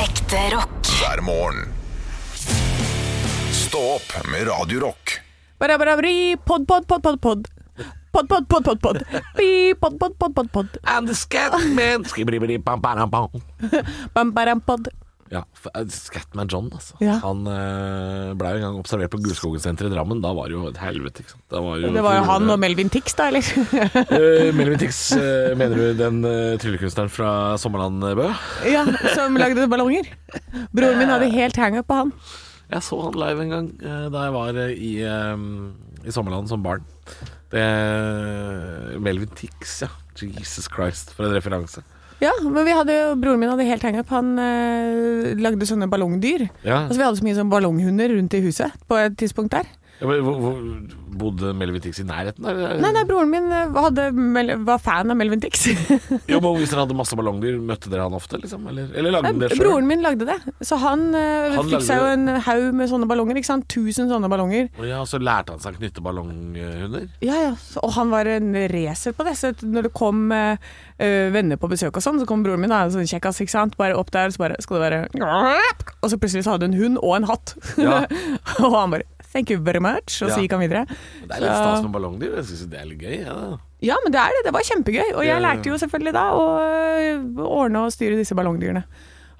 Ekte rock. hver morgen. Stå opp med Radio Rock. Barabarabri, pod, pod, pod, pod, pod. Pod, pod, pod, pod, pod. Bi, pod, pod, pod, pod, pod. I'm the Scatman Skibbidi-bidi-bam-bam-bam. Bam, baram, pod. Ja, for, eh, Scatman John, altså. Ja. Han eh, ble jo en gang observert på Gulskogen senter i Drammen. Da var det jo et helvete, ikke sant. Da var Det var jo han og Melvin Tix, da, eller? Eh, Melvin Tix, eh, mener du den eh, tryllekunstneren fra Sommerland eh, Bø? Ja, som lagde ballonger. Broren min hadde helt hang-up på han. Jeg så han live en gang eh, da jeg var eh, i, eh, i Sommerland som barn. Det eh, Melvin Tix, ja. Jesus Christ, for en referanse. Ja, men vi hadde jo, broren min hadde helt hang-up. Han eh, lagde sånne ballongdyr. Ja. Altså, vi hadde så mye sånn ballonghunder rundt i huset på et tidspunkt der. Ja, men hvor, hvor, bodde Melvin Tix i nærheten? Der? Nei, nei, broren min eh, hadde, mel- var fan av Melvin Tix. Jo, men Hvis dere hadde masse ballongdyr, møtte dere han ofte? liksom? Eller, eller lagde dere sjøl? Broren min lagde det. Så han, eh, Han fikk seg jo lagde en haug med sånne ballonger. Ikke sant? Tusen sånne ballonger. Ja, og så lærte han seg å knytte ballonghunder? Ja, ja. Så- Og han var en racer på det. Så når det kom eh, eh, venner på besøk og sånn, så kom broren min, da, en sånn kjekkas, ikke sant. Bare opp der, så bare skal det være Og så plutselig så hadde hun hund og en hatt. Ja. og han bare Thank you very much. Og Ja. så gikk han videre. Det er litt Så- stas med ballongdyr. Jeg syns det er litt gøy. Ja. Ja, men det er det. Det var kjempegøy. Og Ja, ja, jeg ja. lærte jo selvfølgelig da å eh, ordne og styre disse ballongdyrene.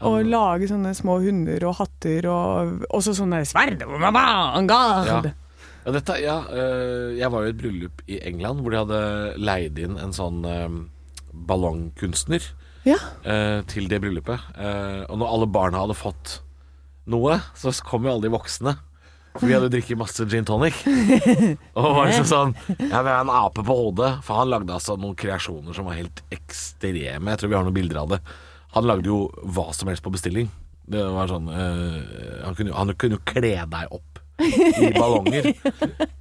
Og lage sånne små hunder og hatter og også sånne sverd. Ja. Ja. Ja, dette, ja, øh, jeg var jo i et bryllup i England hvor de hadde leid inn en sånn øh, ballongkunstner ja. øh, til det bryllupet. Eh, og når alle barna hadde fått noe, så kom jo alle de voksne. For vi hadde drikket masse gin tonic. Og var liksom sånn Ja, vi har en ape på hodet. For han lagde altså noen kreasjoner som var helt ekstreme. Jeg tror vi har noen bilder av det. Han lagde jo hva som helst på bestilling. Det var sånn eh, han, kunne, jo- han kunne jo kle deg opp i ballonger.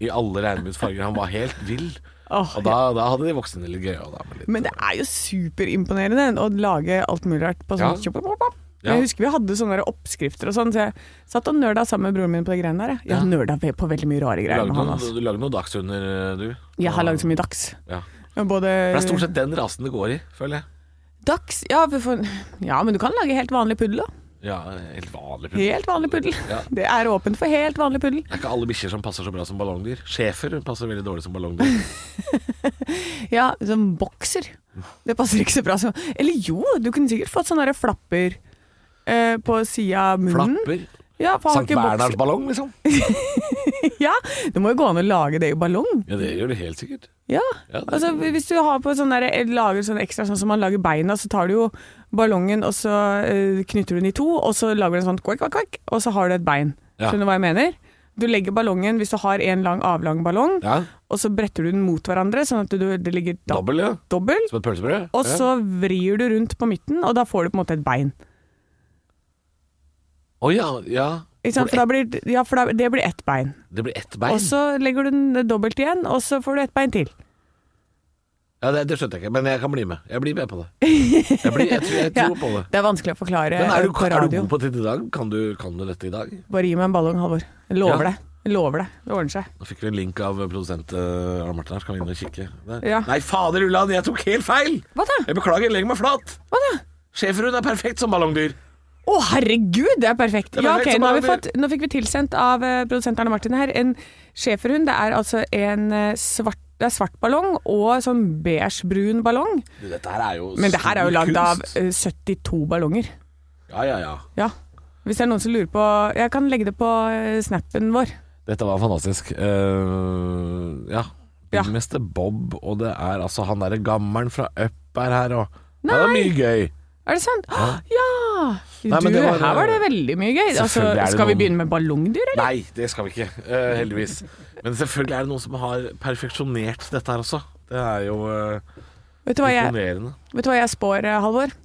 I alle regnbuesfarger. Han var helt vill. Åh, Og da, da hadde de voksne det litt gøy. Og da, med litt, Men det er jo superimponerende å lage alt mulig rart på sånn Ja. tjopp, tjopp, tjopp. Ja. Jeg husker vi hadde sånne der oppskrifter og sånn, så jeg satt og nerda sammen med broren min på de greiene der. jeg. Jeg Ja. har nerda ve- på veldig mye rare du greier lagde med han. noen, Altså. du lagde noen dagsunder, du. Jeg har lagd så mye dags. Ja. Både For det er stort sett den rasen det går i, føler jeg. Dags ja, for- for, ja, men du kan lage helt vanlig puddel òg. Ja, helt vanlig puddel. Helt vanlig puddel. Ja. Det er åpent for helt vanlig puddel. Det er ikke alle bikkjer som passer så bra som ballongdyr. Schæfer passer veldig dårlig som ballongdyr. Ja, som bokser. Det passer ikke så bra som Eller jo, du kunne sikkert fått sånne der flapper eh, på sida av munnen. Flapper. Ja, for han har Sankt ikke bokser- Bernhards ballong, liksom. Ja, det må jo gå an å lage det i ballong. Ja, det gjør det helt sikkert. Ja, Ja, det- altså Hvis du har på sånn der, lager sånn ekstra sånn som man lager beina, så tar du jo ballongen og så eh, knytter du den i to, og så lager du en sånn kvakk, kvakk, kvakk, og så har du et bein. Ja. Skjønner du hva jeg mener? Du legger ballongen, hvis du har en lang, avlang ballong, Ja, og så bretter du den mot hverandre, sånn at du, det ligger da, Dobbel, ja. dobbel, Som et pølsebrød. og så vrir du rundt på midten, og da får du på en måte et bein. ja. Å ja, ja. Ikke sant? For, da blir, ja, for da, det blir ett bein. Det blir ett bein. Og så legger du den dobbelt igjen, og så får du ett bein til. Ja, det, det skjønte jeg ikke, men jeg kan bli med. Jeg blir med på det. Jeg, blir, jeg, tror, jeg tror på det. Det er vanskelig å forklare eh, Men er du, på er du radio. god på dette i dag? Kan du, kan du dette i dag? Bare gi meg en ballong, Halvor. Jeg Lover Ja. det. Jeg Lover det. Det ordner seg. Nå fikk vi en link av produsent eh, Arne Martin her, så kan vi inn og kikke. Der. Ja. Nei, fader Ulland, jeg tok helt feil! Hva da? Jeg beklager, legg meg flat. Hva da? Schæferhund er perfekt som ballongdyr. Å, herregud, det er perfekt! Det er ja, perfekt ok, som nå, har vi ballongdyr. fått, nå fikk vi tilsendt av eh, produsent Arne Martin her en schæferhund. Det er altså en eh, svart det er svart ballong og sånn beige-brun ballong. Du, dette her er jo Men det her er jo stor lagd av kunst. eh, 72 ballonger. Ja, ja, ja. Ja. Hvis det er noen som lurer på Jeg kan legge det på eh, snappen vår. Dette var fantastisk. Eh, ja. Ja. Byggmester Bob, og det er altså han derre gammelen fra Up er her, og Det var mye gøy. Er det sant? Ja! Nei, du, men det var- her var det veldig mye gøy. Altså, Selvfølgelig er det skal vi noen- begynne med ballongdyr, eller? Nei, det skal vi ikke. eh, heldigvis. Men selvfølgelig er det noen som har perfeksjonert dette her også. Det er jo eh, Vet du hva jeg imponerende. Vet du hva jeg spår, eh, Halvor?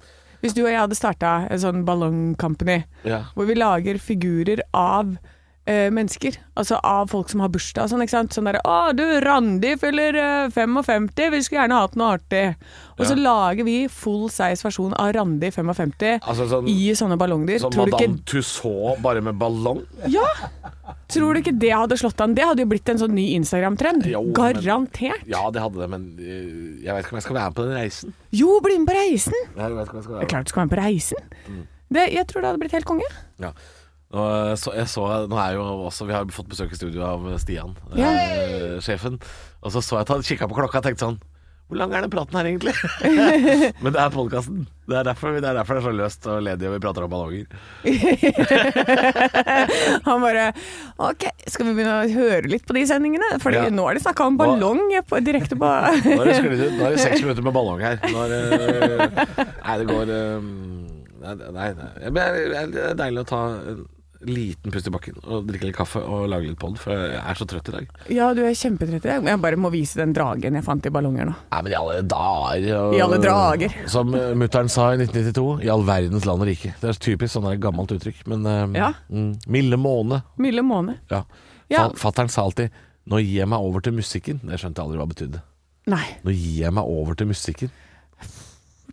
Hvis du og jeg hadde starta en sånn ballongcompany, Ja. hvor vi lager figurer av eh, mennesker, altså av folk som har bursdag og sånn, ikke sant. Sånn derre Å, du, Randi fyller eh, 55, vi skulle gjerne hatt noe artig. Og så Ja. lager vi full size versjon av Randi 55 Altså sånn, i sånne ballongdyr. sånn tror, du Madame ikke, Tussauds bare med ballong. ja, tror du ikke det hadde slått an? Det hadde jo blitt en sånn ny Instagram-trend. Jo, men- Garantert. Ja, det hadde det, men eh, jeg vet ikke om jeg skal være med på den reisen. Jo, bli med på reisen! Jeg vet ikke om jeg skal Det er være med. Mm. klart du skal være med på reisen. Det, jeg tror det hadde blitt helt konge. Ja. Og så jeg så, nå er jo også, Vi har jo fått besøk i studio av Stian, Ja. eh, sjefen. Og så så jeg at han kikka på klokka og tenkte sånn Hvor lang er den praten her, egentlig? Men det er podkasten. Det, er derfor- det er derfor det er så løst og ledig, og vi prater om ballonger. Han bare OK, skal vi begynne å høre litt på de sendingene? For Ja. nå har de snakka om ballong på, direkte på Nå er det, sklidd ut. Nå er det seks minutter med ballong her. Nå er det, nei, det går eh, Nei, nei, nei. Men det er- det er deilig å ta en liten pust i bakken og drikke litt kaffe og lage litt pod, for jeg er så trøtt i dag. Ja, du er kjempetrett i dag. Jeg bare må vise den dragen jeg fant i ballonger nå. Nei, men i alle dager og- I alle drager. Som eh, mutter'n sa i 1992, i all verdens land og rike. Det er typisk sånn der gammelt uttrykk. Men eh, Ja. mm, milde måne. Milde måne. Ja. Ja. Fa- Fattern sa alltid 'nå gir jeg meg over til musikken'. Det skjønte jeg aldri hva det betydde. Nei. Nå gir jeg meg over til musikken.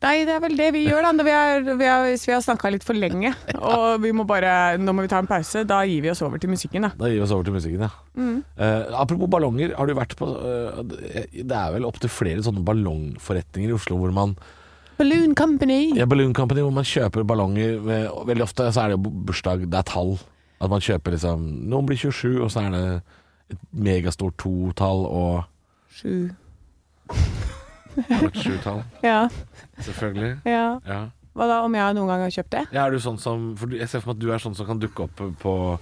Nei, det er vel det vi gjør, da. Vi er, vi er, hvis vi har snakka litt for lenge, og vi må bare Nå må vi ta en pause. Da gir vi oss over til musikken, da. Da gir vi oss over til musikken, ja. Mm. Eh, apropos ballonger, har du vært på eh, Det er vel opptil flere sånne ballongforretninger i Oslo hvor man Balloon Company. Ja, Balloon Company, hvor man kjøper ballonger med, og Veldig ofte så er det jo bursdag, det er tall. At man kjøper liksom Noen blir 27, og så er det et megastort totall og Sju. Og et sjutall, Ja, selvfølgelig. ja. Ja. Hva da om jeg noen gang har kjøpt det? ja, er du sånn som For du- jeg ser for meg at du er sånn som kan dukke opp på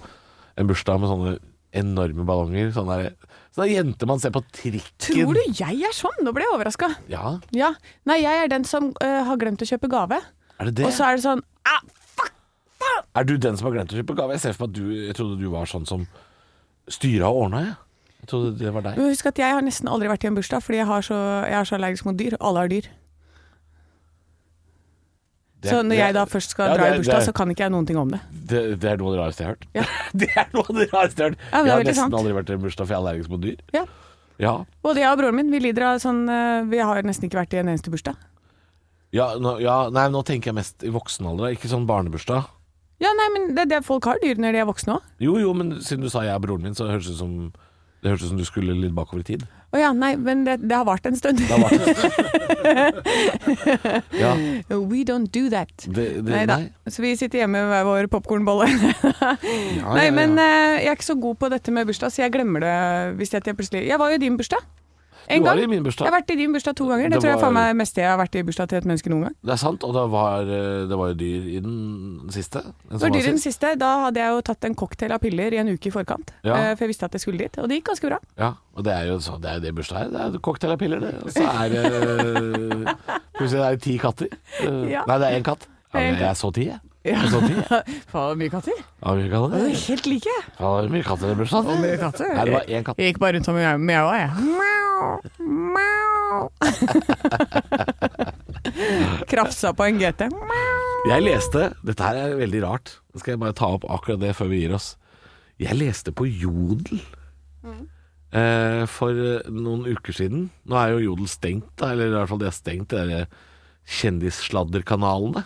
en bursdag med sånne enorme ballonger. Sånne, der, sånne jenter man ser på trikken. Tror du jeg er sånn? Nå ble jeg overraska. Ja, Ja. Nei, jeg er den som øh, har glemt å kjøpe gave. er det det? Og så er det sånn ah, Er du den som har glemt å kjøpe gave? Jeg ser for meg at du Jeg trodde du var sånn som styra og ordna, jeg. Jeg trodde det var deg. Men Husk at jeg har nesten aldri vært i en bursdag, fordi jeg, har så, jeg er så allergisk mot dyr. og Alle har dyr. Det- så når Sånn, det- jeg da først skal Ja, dra det er- i bursdag, det er- så kan ikke jeg noen ting om det. Det, det er noe av det rareste jeg har hørt. Ja. det er noe av det rareste jeg har hørt. Ja, men det er jeg har veldig nesten sant. aldri vært i en bursdag, for jeg er allergisk mot dyr. Ja. Ja, Både jeg og broren min vi lider av sånn øh, Vi har nesten ikke vært i en eneste bursdag. ja, nå, ja Nei, nå tenker jeg mest i voksen alder, da. ikke sånn barnebursdag. Ja, nei, men det er det folk har dyr når de er voksne òg. Jo, jo, men siden du sa jeg er broren min, så høres det ut som det høres ut som du skulle litt bakover i tid. Å ja, nei, men det, det har vart en stund. Da var det Ja. We don't do that. Det, det, Nei da. nei. Så vi sitter hjemme med hver vår popkornbolle. Ja, Nei, ja, men ja. eh, jeg er ikke så god på dette med bursdag, så jeg glemmer det hvis jeg, at jeg plutselig Jeg var jo i din bursdag. En Du var gang. i min bursdag. Jeg har vært i din bursdag to ganger. Det, Det tror jeg var- faen meg er det meste jeg har vært i bursdag til et menneske noen gang. Det er sant, og det var, eh, det var jo dyr i den siste. Den Det var som var dyr i den sist. siste. Da hadde jeg jo tatt en cocktail av piller i en uke i forkant. Ja. eh, For jeg visste at jeg skulle dit, og det gikk ganske bra. Ja, og det er jo så, det, er jo det bursdag er. Det er jo cocktail og piller, det. Og så er det eh, Plutselig er det ti katter. Eh, Ja. Nei, det er én katt. Det Ja, er en men jeg så ti, jeg. Jeg så ti, jeg. Faen, mye katter. Ja, mye katter. Det er helt like. Ja, det var mye katter i bursdagen. Mye katter. Nei, det var én katt. Jeg gikk bare rundt og mjau- mjaua, jeg. Mjau, mjau. Krafsa på en GT. Mjau. Jeg leste Dette her er veldig rart. Nå skal jeg bare ta opp akkurat det før vi gir oss. Jeg leste på Jodel eh, for eh, noen uker siden. Nå er jo Jodel stengt, da, eller i hvert fall de har stengt de der eh, kjendissladderkanalene.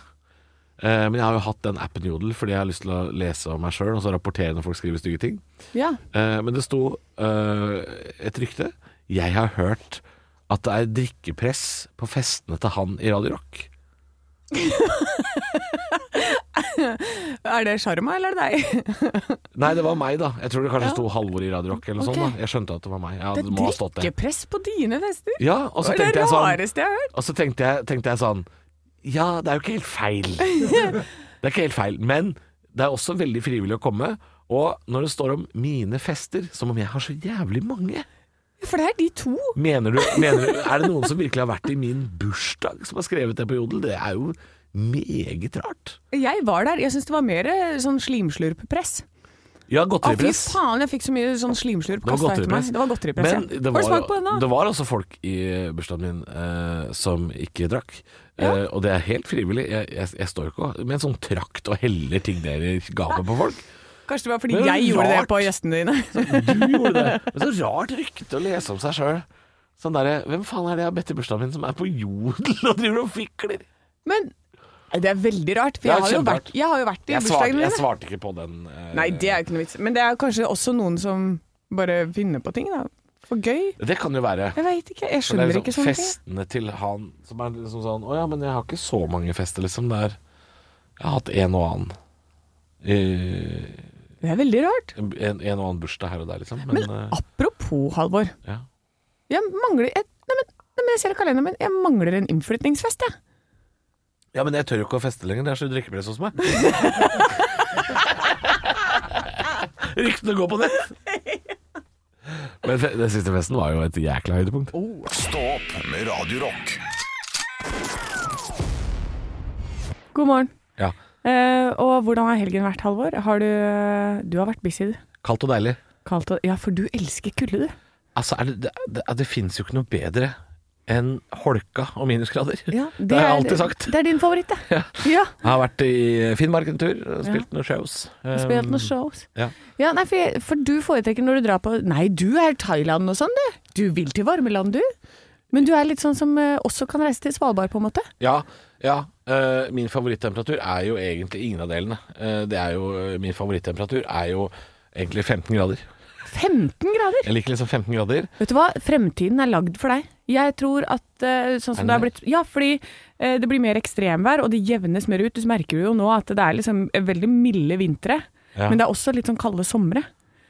Eh, men jeg har jo hatt den appen Jodel fordi jeg har lyst til å lese om meg sjøl og så rapportere når folk skriver stygge ting. Ja. Eh, men det sto eh, et rykte. Jeg har hørt at det er drikkepress på festene til han i Radio Rock. Er det sjarma, eller er det deg? Nei, det var meg, da. Jeg tror det kanskje Ja. sto Halvor i Radio Rock. Eller noe Ok. sånt, da. Jeg skjønte at det var meg. Ja, Det det er må ha stått det. drikkepress på dine fester. Ja, og så Det er tenkte det jeg sånn rareste jeg har hørt. Og så tenkte jeg, tenkte jeg sånn Ja, det er jo ikke helt feil. Det er ikke helt feil. Men det er også veldig frivillig å komme. Og når det står om mine fester, som om jeg har så jævlig mange For det er de to. Mener du, mener du Er det noen som virkelig har vært i min bursdag, som har skrevet det på Jodel? Det er jo meget rart. Jeg var der. Jeg syns det var mer eh, sånn slimslurpepress. Å, Ja, fy godteripress. faen, jeg fikk så mye sånn slimslurp Det var kasta etter meg. godteripress. Det var godteripress. Men ja. Har det du var, smakt på den, da? det var også folk i bursdagen min eh, som ikke drakk. Eh, og det er helt frivillig. Jeg, jeg, jeg står ikke og- med en sånn trakt og heller ting ned i gapet på folk. Kanskje det var fordi Men det er jeg gjorde det rart. på gjestene dine. Du gjorde det. Men så rart rykte å lese om seg sjøl. Sånn derre Hvem faen er det jeg har bedt i bursdagen min, som er på jodel og driver og fikler? Men eh, det er veldig rart, for Det er jeg har jo kjemperart. vært, jeg har jo vært i Jeg svarte, bursdagen jeg din. svarte ikke på den. eh, Nei, det er jo ikke noe vits. Men det er kanskje også noen som bare finner på ting, da. For gøy. Det kan jo være. Jeg veit ikke. Jeg Men det er skjønner liksom ikke sånne ting. Festene til han som er liksom sånn Å ja, men jeg har ikke så mange fester, liksom. Det er Jeg har hatt en og annen eh, Det er veldig rart. en, en og annen bursdag her og der, liksom. Men, Men eh, apropos Halvor. ja. Jeg mangler jeg, nei, men, nei, men jeg ser i kalenderen min, jeg mangler en innflytningsfest, jeg. ja, men jeg tør jo ikke å feste lenger. Det er så drikkepress hos meg. Ryktene går på nett. Men fe- den siste festen var jo et jækla høydepunkt. Oh. Stå opp med Radio Rock. God morgen. Ja. Eh, og hvordan har helgen vært, Halvor? Har du, du har vært busy, du. Kaldt og deilig. Kaldt og, ja, for du elsker kulde, du. Altså, er det, det, det, det finnes jo ikke noe bedre enn holka og minusgrader. det, er- har jeg alltid sagt. Det er din favoritt, det. Ja. Ja. Jeg har vært i Finnmark en tur, spilt noen shows. Spilt noen Um, shows. ja. Ja, nei, for, jeg, for du foretrekker når du drar på Nei, du er Thailand og sånn, du. Du vil til varme land, du. Men du er litt sånn som eh, også kan reise til Svalbard, på en måte. Ja, ja. eh, min favorittemperatur er jo egentlig ingen av delene. Eh, det er jo, eh, min favorittemperatur er jo egentlig 15 grader. 15 grader! Jeg liker liksom 15 grader. Vet du hva, fremtiden er lagd for deg. Jeg tror at eh, sånn som det har blitt Ja, fordi eh, det blir mer ekstremvær, og det jevnes mer ut. Du merker jo nå at det er liksom veldig milde vintre, Ja. men det er også litt sånn kalde somre.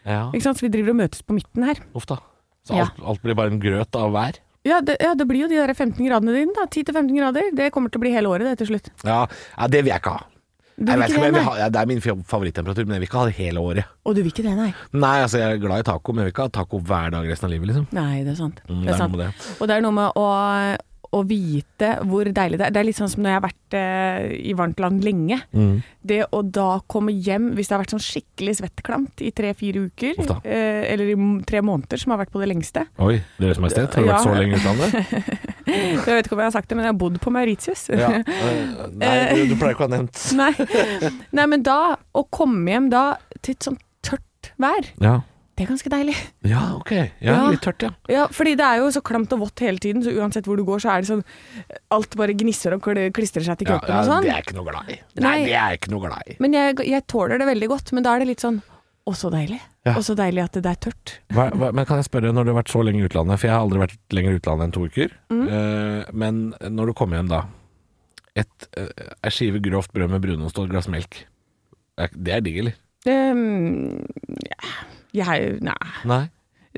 Ja. Ikke sant? Så vi driver og møtes på midten her. Uff da. Så alt, alt blir bare en grøt av vær. Ja, det, ja, det blir jo de der 15 gradene dine, da. 10-15 grader. Det kommer til å bli hele året, det, til slutt. Ja, ja det vil jeg ikke ha. Du Jeg vil vet ikke ikke om det, jeg vil nei. ha ja, det er min fa- favorittemperatur, men jeg vil ikke ha det hele året. Og du vil ikke det, nei. Nei, altså jeg er glad i taco, men jeg vil ikke ha taco hver dag resten av livet, liksom. Nei, det er sant. Mm, det det er er sant. noe med Og det er noe med å, å vite hvor deilig det er. Det er litt sånn som når jeg har vært eh, i varmt land lenge. Mm. Det å da komme hjem, hvis det har vært sånn skikkelig svetteklamt i tre-fire uker, Uff da. eh, eller i m- tre måneder, som har vært på det lengste Oi, Deres Majestet, har du Ja. vært så lenge i utlandet? Jeg vet ikke om jeg har sagt det, men jeg har bodd på Mauritius. Ja. Eh, Nei, du, du pleier ikke å ha nevnt. Nei. Nei, men da, å komme hjem da til et sånn tørt vær, Ja. det er ganske deilig. ja, ok. Ja, Ja. Litt tørt, ja. Ja, fordi det er jo så klamt og vått hele tiden, så uansett hvor du går, så er det sånn Alt bare gnisser og kl- klistrer seg til ja, kroppen ja og sånn. Det er jeg ikke noe glad i. Nei, Nei. det er jeg ikke noe glad i. Men jeg, jeg tåler det veldig godt, men da er det litt sånn Å, så deilig. Ja. Og så deilig at det er tørt. Hva, hva, men kan jeg spørre, når du har vært så lenge i utlandet, for jeg har aldri vært lenger i utlandet enn to uker, eh, men når du kommer hjem da, et, eh, ei skive grovt brød med brunost og et glass melk, Er- det er digg, eller? Ehm, ja, jeg Nei. Nei.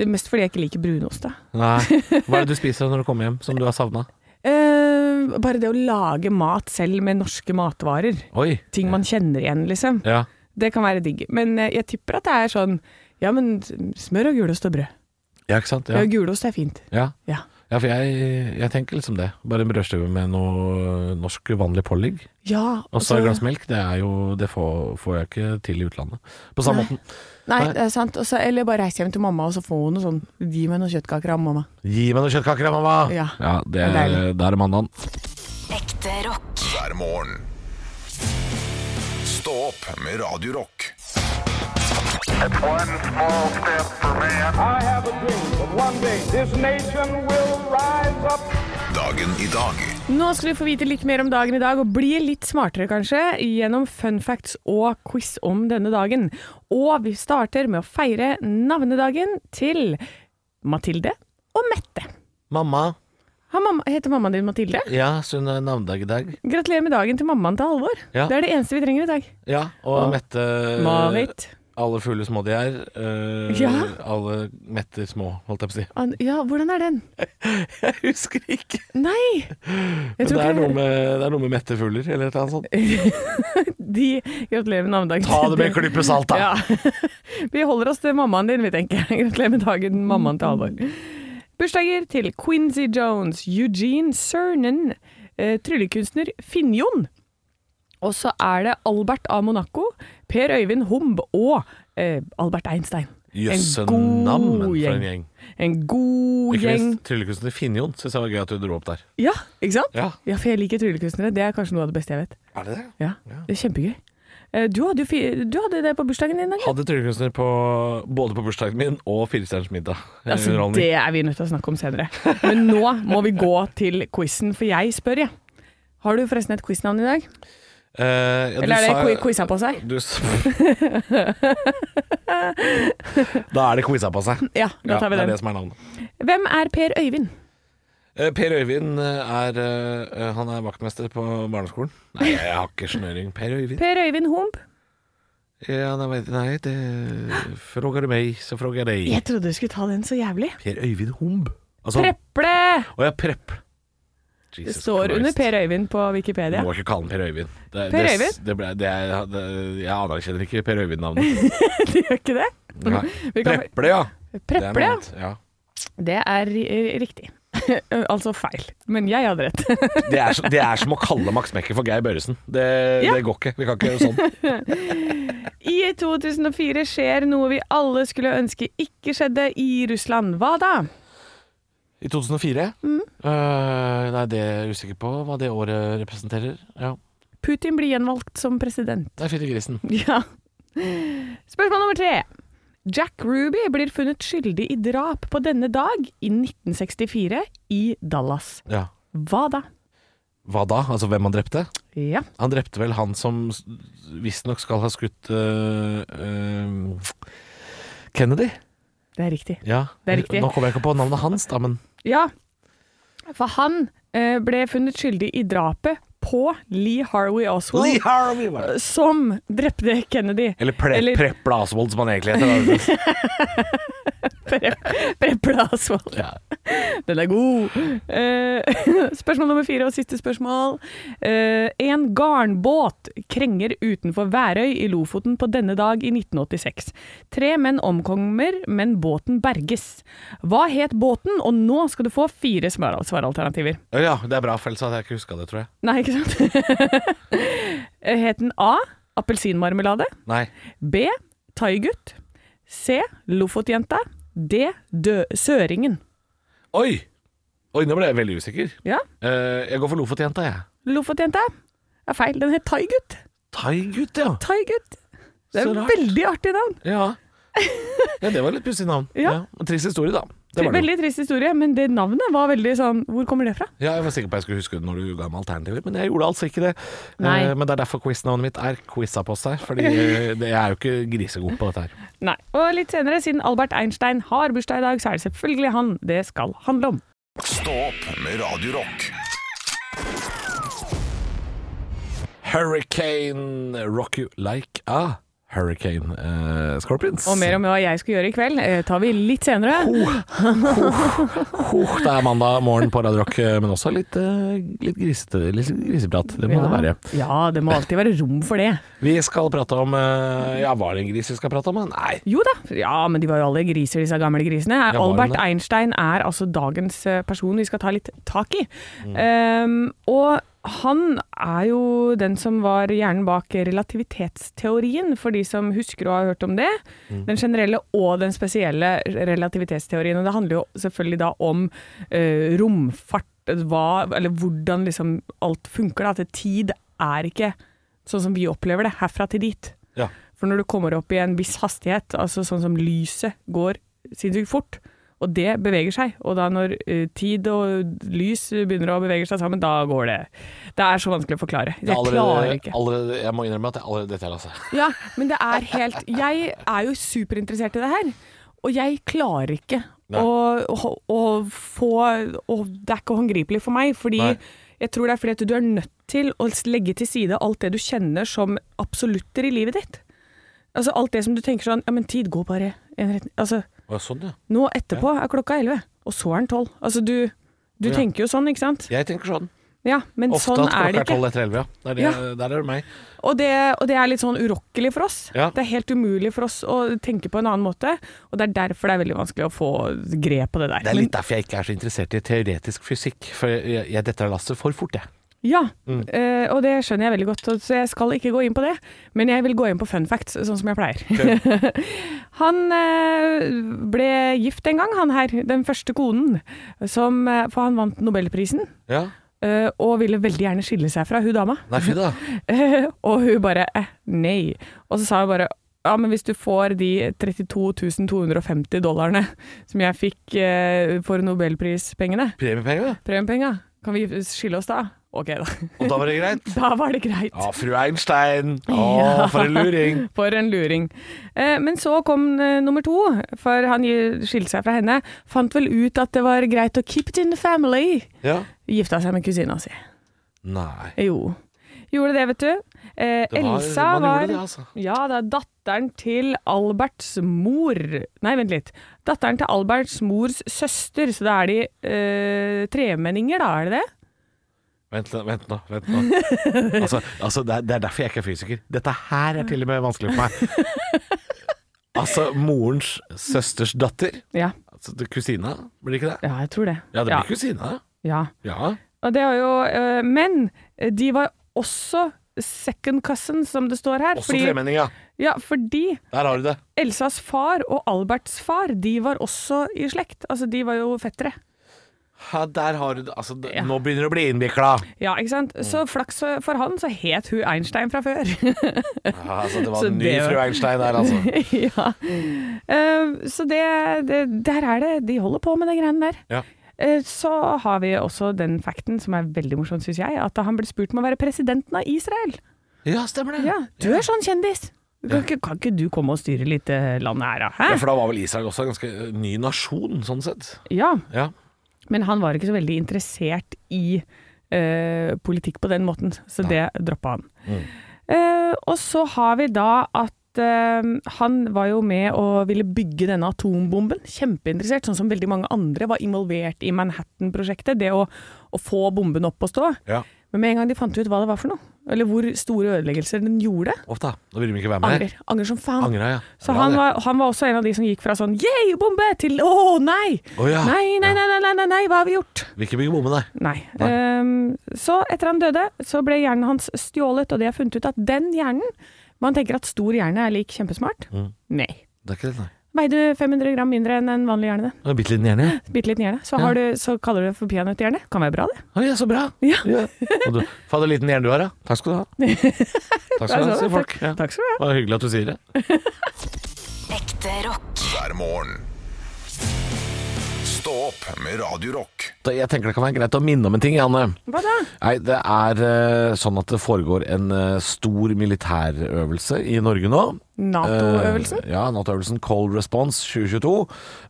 Mest fordi jeg ikke liker brunost, da. Nei. Hva er det du spiser når du kommer hjem, som du har savna? Ehm, bare det å lage mat selv med norske matvarer. Oi. Ting man kjenner igjen, liksom. Ja. Det kan være digg. Men eh, jeg tipper at det er sånn Ja, men smør og gulost og brød. ja, ikke sant? Ja, Ja. gulost er fint. ja. Ja. Ja, for jeg, jeg tenker liksom det. Bare en brødskive med noe norsk vanlig pålegg. Ja, Og så et glass melk, det er jo Det får, får jeg ikke til i utlandet. På samme Nei. måten. Nei, Nei. det er sant. Og så- eller bare reise hjem til mamma og så få noe sånn Gi meg noen kjøttkaker av mamma. Gi meg noen kjøttkaker, da, mamma! Ja. det, Det er deilig. Da er det mandagen. Ekte rock. hver morgen. Stå opp med Radio Rock. It's one small step for man. I have a dream that one day this nation will rise up. Dagen i dag Nå skal du få vite litt mer om dagen i dag, og bli litt smartere kanskje, gjennom fun facts og quiz om denne dagen. Og vi starter med å feire navnedagen til Mathilde og Mette. Mamma, Har mamma, heter mammaen din Mathilde? ja, sunn er navnedag i dag. Gratulerer med dagen til mammaen til Halvor. Ja. Eh, Det er det eneste vi trenger i dag. Ja, og Mette Marit. Alle fugler små de er. eh, Ja. Alle metter små, holdt jeg på å si. An ja, hvordan er den? Jeg husker ikke. Nei! Jeg Det tror er, ikke noe med, det er noe med mette fugler, eller et eller annet sånt. de gratulerer med navnedagen. Ta det med en klype salt, da! Ja. Vi holder oss til mammaen din, vi tenker. Gratulerer med dagen, mammaen til Halvor. Bursdager til Quincy Jones, Eugene Cernan, eh, tryllekunstner Finnjon. Og så er det Albert av Monaco, Per Øyvind Humb og eh, Albert Einstein. Jøsse En god namn for gjeng. en gjeng. En god Ikke gjeng. minst tryllekunstner Finnjon syns jeg var gøy at du dro opp der. Ja, ikke sant? Ja. Ja, for jeg liker tryllekunstnere. Det er kanskje noe av det beste jeg vet. Er det det? Ja, Det er kjempegøy. Eh, Du hadde, jo fi du hadde det på bursdagen din, Agnes. Hadde tryllekunstner på, både på bursdagen min og Firestjerners middag. Altså, Underholdning. det er vi nødt til å snakke om senere. Men nå må vi gå til quizen, for jeg spør, jeg. Har du forresten et quiznavn i dag? Eh, ja, du Eller er sa- det qui- quiza på seg? Du s- da er det quiza på seg. Ja, da Ja, tar vi det er den. det som er navnet. Hvem er Per Øyvind? Eh, Per Øyvind eh, er eh, Han er vaktmester på barneskolen. Nei, jeg har ikke snøring. Per Øyvind? Per Øyvind Hump. Ja, nei, vet- nei, det Frågar du meg, så frågar jeg deg. Jeg trodde du skulle ta den så jævlig. Per Øyvind Humb. Altså, Preple! Å ja, Prepp. Det Jesus står Christ. under Per Øyvind på Wikipedia. Du må ikke kalle han Per Øyvind. Det, Per det, Øyvind? Det ble, det, er- det, jeg anerkjenner ikke Per Øyvind-navnet. Du gjør ikke det? Nei. Vi kan- Preple, ja. Det er Preple, ja. ment, ja. Det er eh, riktig. altså feil. Men jeg hadde rett. Det er, så- det er som å kalle Max Mekker for Geir Børresen. Det, Ja. det går ikke. Vi kan ikke gjøre sånn. I 2004 skjer noe vi alle skulle ønske ikke skjedde i Russland. Hva da? I 2004? Mm. Øh, nei, det er jeg usikker på hva det året representerer. Ja. Putin blir gjenvalgt som president. Det er fytti grisen. Ja. Spørsmål nummer tre. Jack Ruby blir funnet skyldig i drap på denne dag i 1964 i Dallas. Ja. Hva da? Hva da? Altså hvem han drepte? Ja. Han drepte vel han som s- visstnok skal ha skutt øh, øh, Kennedy? Det er riktig. Ja. Det er riktig. Nå kommer jeg ikke på navnet hans, da, men Ja, for han eh, ble funnet skyldig i drapet på Lee Harvey Oswald, Harvey var det. som drepte Kennedy. Eller, pre Eller- Prepla Oswald, som han egentlig heter. Prepla Oswald. Ja. Den er god! Eh, spørsmål nummer fire og siste spørsmål. Eh, en garnbåt krenger utenfor Værøy i Lofoten på denne dag i 1986. Tre menn omkommer, men båten berges. Hva het båten, og nå skal du få fire svar- svaralternativer. ja, det er bra, for ellers hadde jeg ikke huska det, tror jeg. Nei, ikke sant? Eh, Het den A. Appelsinmarmelade. Nei. B. Thaigutt. C. Lofotjenta. D. Dø Søringen. Oi! Oi, nå ble jeg veldig usikker. Ja, Eh, jeg går for Lofotjenta, jeg. Lofotjenta er feil. Den het Thaigutt. Thaigut, ja. Thaigutt. Det er Så et rart. veldig artig navn. ja. Ja, det var litt pussig navn. Ja. En Trist historie, da. Det var det. Veldig trist historie, men det navnet var veldig sånn Hvor kommer det fra? Ja, jeg var sikker på at jeg skulle huske det når du ga meg alternativer, men jeg gjorde altså ikke det. Nei. Eh, men det er derfor quiznavnet mitt er Quizapost her, fordi eh, det- jeg er jo ikke grisegod på dette her. Nei. Og litt senere, siden Albert Einstein har bursdag i dag, så er det selvfølgelig han det skal handle om. Stå opp med Radio Rock. Hurricane Rock You Like a Hurricane eh, Scorpions. Og mer om hva jeg skal gjøre i kveld, eh, tar vi litt senere. Puh, det er mandag morgen på Radio Rock, eh, men også litt, eh, litt grisete, litt griseprat. Det må det være. ja, det må alltid være rom for det. Vi skal prate om eh, Ja, var det en gris vi skal prate om? da? Nei. Jo da, ja, men de var jo alle griser, disse gamle grisene. Ja, var de Albert det? Einstein er altså dagens eh, person vi skal ta litt tak i. Mm. Ehm, og han er jo den som var hjernen bak relativitetsteorien, for de som husker og har hørt om det. Mm. Den generelle og den spesielle relativitetsteorien. Og det handler jo selvfølgelig da om eh, romfart, hva, eller hvordan liksom alt funker. Da, at tid er ikke sånn som vi opplever det, herfra til dit. Ja. For når du kommer opp i en viss hastighet, altså sånn som lyset går sinnssykt fort, og det beveger seg, og da når eh, tid og lys begynner å bevege seg sammen, da går det. Det er så vanskelig å forklare. Jeg klarer Allerede, ikke. allerede, jeg må innrømme at jeg allerede Dette er altså Ja, men det er helt Jeg er jo superinteressert i det her, og jeg klarer ikke Nei. å, å, å få å, Det er ikke håndgripelig for meg, fordi Nei. jeg tror det er fordi at du er nødt til å legge til side alt det du kjenner som absolutter i livet ditt. Altså alt det som du tenker sånn Ja, men tid går bare i en retning Altså, Å, Sånn, ja. nå etterpå er klokka elleve, og så er den tolv. Altså, du Du Ja. tenker jo sånn, ikke sant? Jeg tenker sånn. Ja, men Ofte sånn er at klokka det er ikke. tolv etter elleve, ja. Det er det, Ja. Der er det meg. Og det, og det er litt sånn urokkelig for oss. Ja. Det er helt umulig for oss å tenke på en annen måte, og det er derfor det er veldig vanskelig å få grep på det der. Det er litt derfor jeg ikke er så interessert i teoretisk fysikk, for jeg, jeg detter av lasset for fort, jeg. Men, ja, Mm. eh, og det skjønner jeg veldig godt, og- så jeg skal ikke gå inn på det, men jeg vil gå inn på fun facts, sånn som jeg pleier. han eh, ble gift en gang, han her, den første konen, som, eh, for han vant Nobelprisen, Ja. eh, og ville veldig gjerne skille seg fra hun dama. Nei, fy da. og hun bare eh, nei. Og så sa hun bare ja, men hvis du får de 32 250 dollarene som jeg fikk eh, for nobelprispengene, Premiepenger, da. premiepenga, Kan vi skille oss da? Ok, da. Og da var det greit. Da var det greit. Ja, fru Einstein. Å, Ja. for en luring. For en luring. Eh, men så kom eh, nummer to, for han gi- skilte seg fra henne. Fant vel ut at det var greit å keep it in the family. Ja. Gifta seg med kusina si. Nei. Jo. Gjorde det, vet du. Eh, Det var- Elsa man var gjorde det, altså. Ja, det er datteren til Alberts mor Nei, vent litt. Datteren til Alberts mors søster, så da er de eh, tremenninger, da, er det det? Vent, nå, vent nå. vent nå altså, altså, det, er, det er derfor jeg ikke er fysiker. Dette her er til og med vanskelig for meg. Altså, morens søsters datter Ja, altså, det- Kusina, blir det ikke det? ja jeg tror det. Ja, det blir kusina. ja. Ja. Og det var jo, eh, men de var også second cousin, som det står her. Også tremenning, ja. ja, fordi Der har du det. Elsas far og Alberts far de var også i slekt. Altså, de var jo fettere. Ja, der har du det. Altså, det Ja. Nå begynner det å bli innvikla. Ja, ikke sant? Så flaks for han, så het hun Einstein fra før. Ja, altså, det var Så en ny det var- fru Einstein der, altså. ja. Mm. Eh, så det, det Der er det. De holder på med de greiene der. Ja. Eh, Så har vi også den fakten som er veldig morsom, syns jeg, at han ble spurt om å være presidenten av Israel. ja, stemmer det. Ja, Du er sånn kjendis! Kan ikke, kan ikke du komme og styre litt eh, landet her, da? Hæ? Ja, for da var vel Israel også en ganske eh, ny nasjon, sånn sett. Ja, Ja. men han var ikke så veldig interessert i eh, politikk på den måten, så det droppa han. Mm. Eh, og så har vi da at eh, han var jo med og ville bygge denne atombomben. Kjempeinteressert, sånn som veldig mange andre var involvert i Manhattan-prosjektet. Det å, å få bomben opp å stå. ja. Men med en gang de fant ut hva det var for noe, eller hvor store ødeleggelser den gjorde, Opp da. Da vil de ikke være med. angrer. Angrer som faen. Angra, ja. Så Bra, han det. var, han var også en av de som gikk fra sånn yeah, bombe til å nei! Å, ja. nei, nei, nei, Ja. nei, nei, nei, nei, hva har vi gjort? Vil ikke bygge bomme, nei. Nei. Nei. Ehm, så etter han døde, så ble hjernen hans stjålet, og de har funnet ut at den hjernen Man tenker at stor hjerne er lik kjempesmart. Mm. Nei. Det er ikke det, nei. Veide 500 gram mindre enn en vanlig hjerne. Det er en bitte liten hjerne. ja. Bitte liten hjerne. Så, har du, så kaller du det for peanøtthjerne. Kan være bra, det. Å ja, så bra. Ja. Og du, Fader, liten hjerne du har, ja. Takk skal du ha. Takk skal du ha, Altså, sier folk. takk- Ja. Takk skal du ha. Det var hyggelig at du sier det. Ekte rock. hver morgen. Stå opp med Radio Rock. Da- Jeg tenker det kan være greit å minne om en ting, Janne. Hva da? Nei, det er eh, sånn at det foregår en eh, stor militærøvelse i Norge nå. Nato-øvelsen? Eh, ja, Nato-øvelsen Cold Response 2022.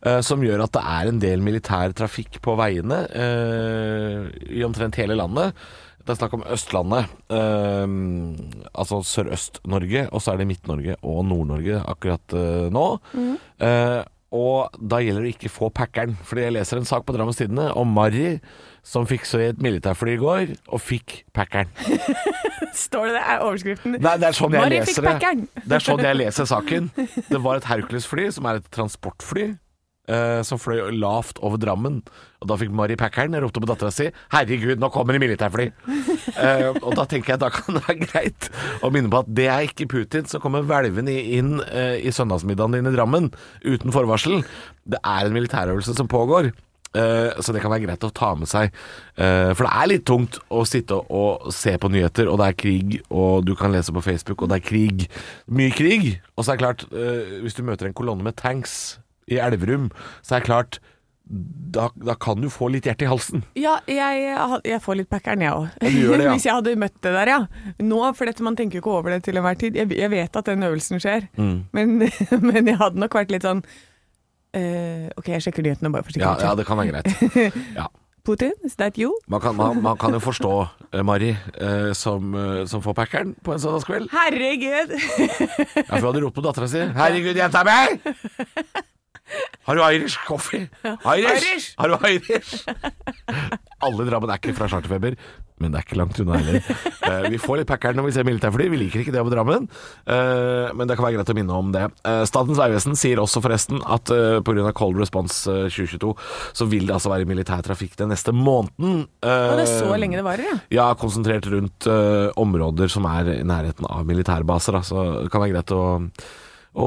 eh, som gjør at det er en del militær trafikk på veiene eh, i omtrent hele landet. Det er snakk om Østlandet, eh, altså Sørøst-Norge, og så er det Midt-Norge og Nord-Norge akkurat eh, nå. Eh, og da gjelder det ikke få packeren, fordi jeg leser en sak på Drammens Tidende om Marry som fikk så i et militærfly i går, og fikk packeren. Står det det? Er overskriften Nei, det er sånn jeg Mari fikk leser det. packeren. Det er sånn jeg leser saken. Det var et Hercules-fly, som er et transportfly, eh, som fløy lavt over Drammen. Og da fikk Mari Packeren ropte på dattera si 'Herregud, nå kommer det militærfly'. Eh, og da tenker jeg da kan det være greit å minne på at det er ikke Putin som kommer hvelvende inn eh, i søndagsmiddagen din i Drammen uten forvarsel. Det er en militærøvelse som pågår. Eh, Så det kan være greit å ta med seg. Eh, For det er litt tungt å sitte og se på nyheter, og det er krig, og du kan lese på Facebook, og det er krig. Mye krig. Og så er det klart, eh, hvis du møter en kolonne med tanks i Elverum, så er det klart da, da kan du få litt hjerte i halsen. Ja, jeg, jeg får litt packeren, jeg òg. du gjør det, ja. Hvis jeg hadde møtt det der, ja. Nå, for dette, man tenker jo ikke over det til enhver tid. Jeg, jeg vet at den øvelsen skjer, men, men jeg hadde nok vært litt sånn eh, OK, jeg sjekker nyhetene bare for Ja, sikkerhets ja det kan være greit. Ja. Putin, is that you? Man, kan, man, man kan jo forstå eh, Mari eh, som, eh, som får packeren på en søndagskveld. Herregud! Ja, for hun hadde ropt på dattera si. 'Herregud, jenta mi! Har du Irish coffee? Irish? Irish! Har du Irish? Alle i Drammen er ikke fra charterfeber, men det er ikke langt unna heller. Eh, vi får litt packeren når vi ser militærfly, vi liker ikke det over Drammen. eh, men det kan være greit å minne om det. Eh, Statens vegvesen sier også forresten at eh, på pga. Cold Response eh, 2022 så vil det altså være militær trafikk den neste måneden. Uh, Og det er så lenge det varer, ja. ja, konsentrert rundt eh, områder som er i nærheten av militærbaser. Da. Så det kan være greit å, å,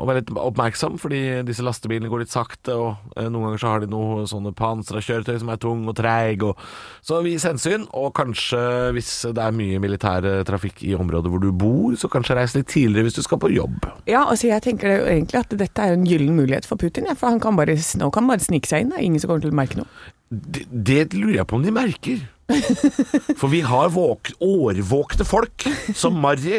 å være litt oppmerksom, fordi disse lastebilene går litt sakte. Og eh, noen ganger så har de noe sånne pansra kjøretøy som er tung og treig. Og, så vis hensyn, og kanskje hvis det er mye militær eh, trafikk i området hvor du bor, så kanskje reis litt tidligere hvis du skal på jobb. Ja, altså jeg tenker jo egentlig at dette er jo en gyllen mulighet for Putin, ja, for han kan bare, sn- han kan bare snike seg inn. Det er ingen som kommer til å merke noe. Det, det lurer jeg på om de merker. For vi har våk, årvåkne folk som Marry,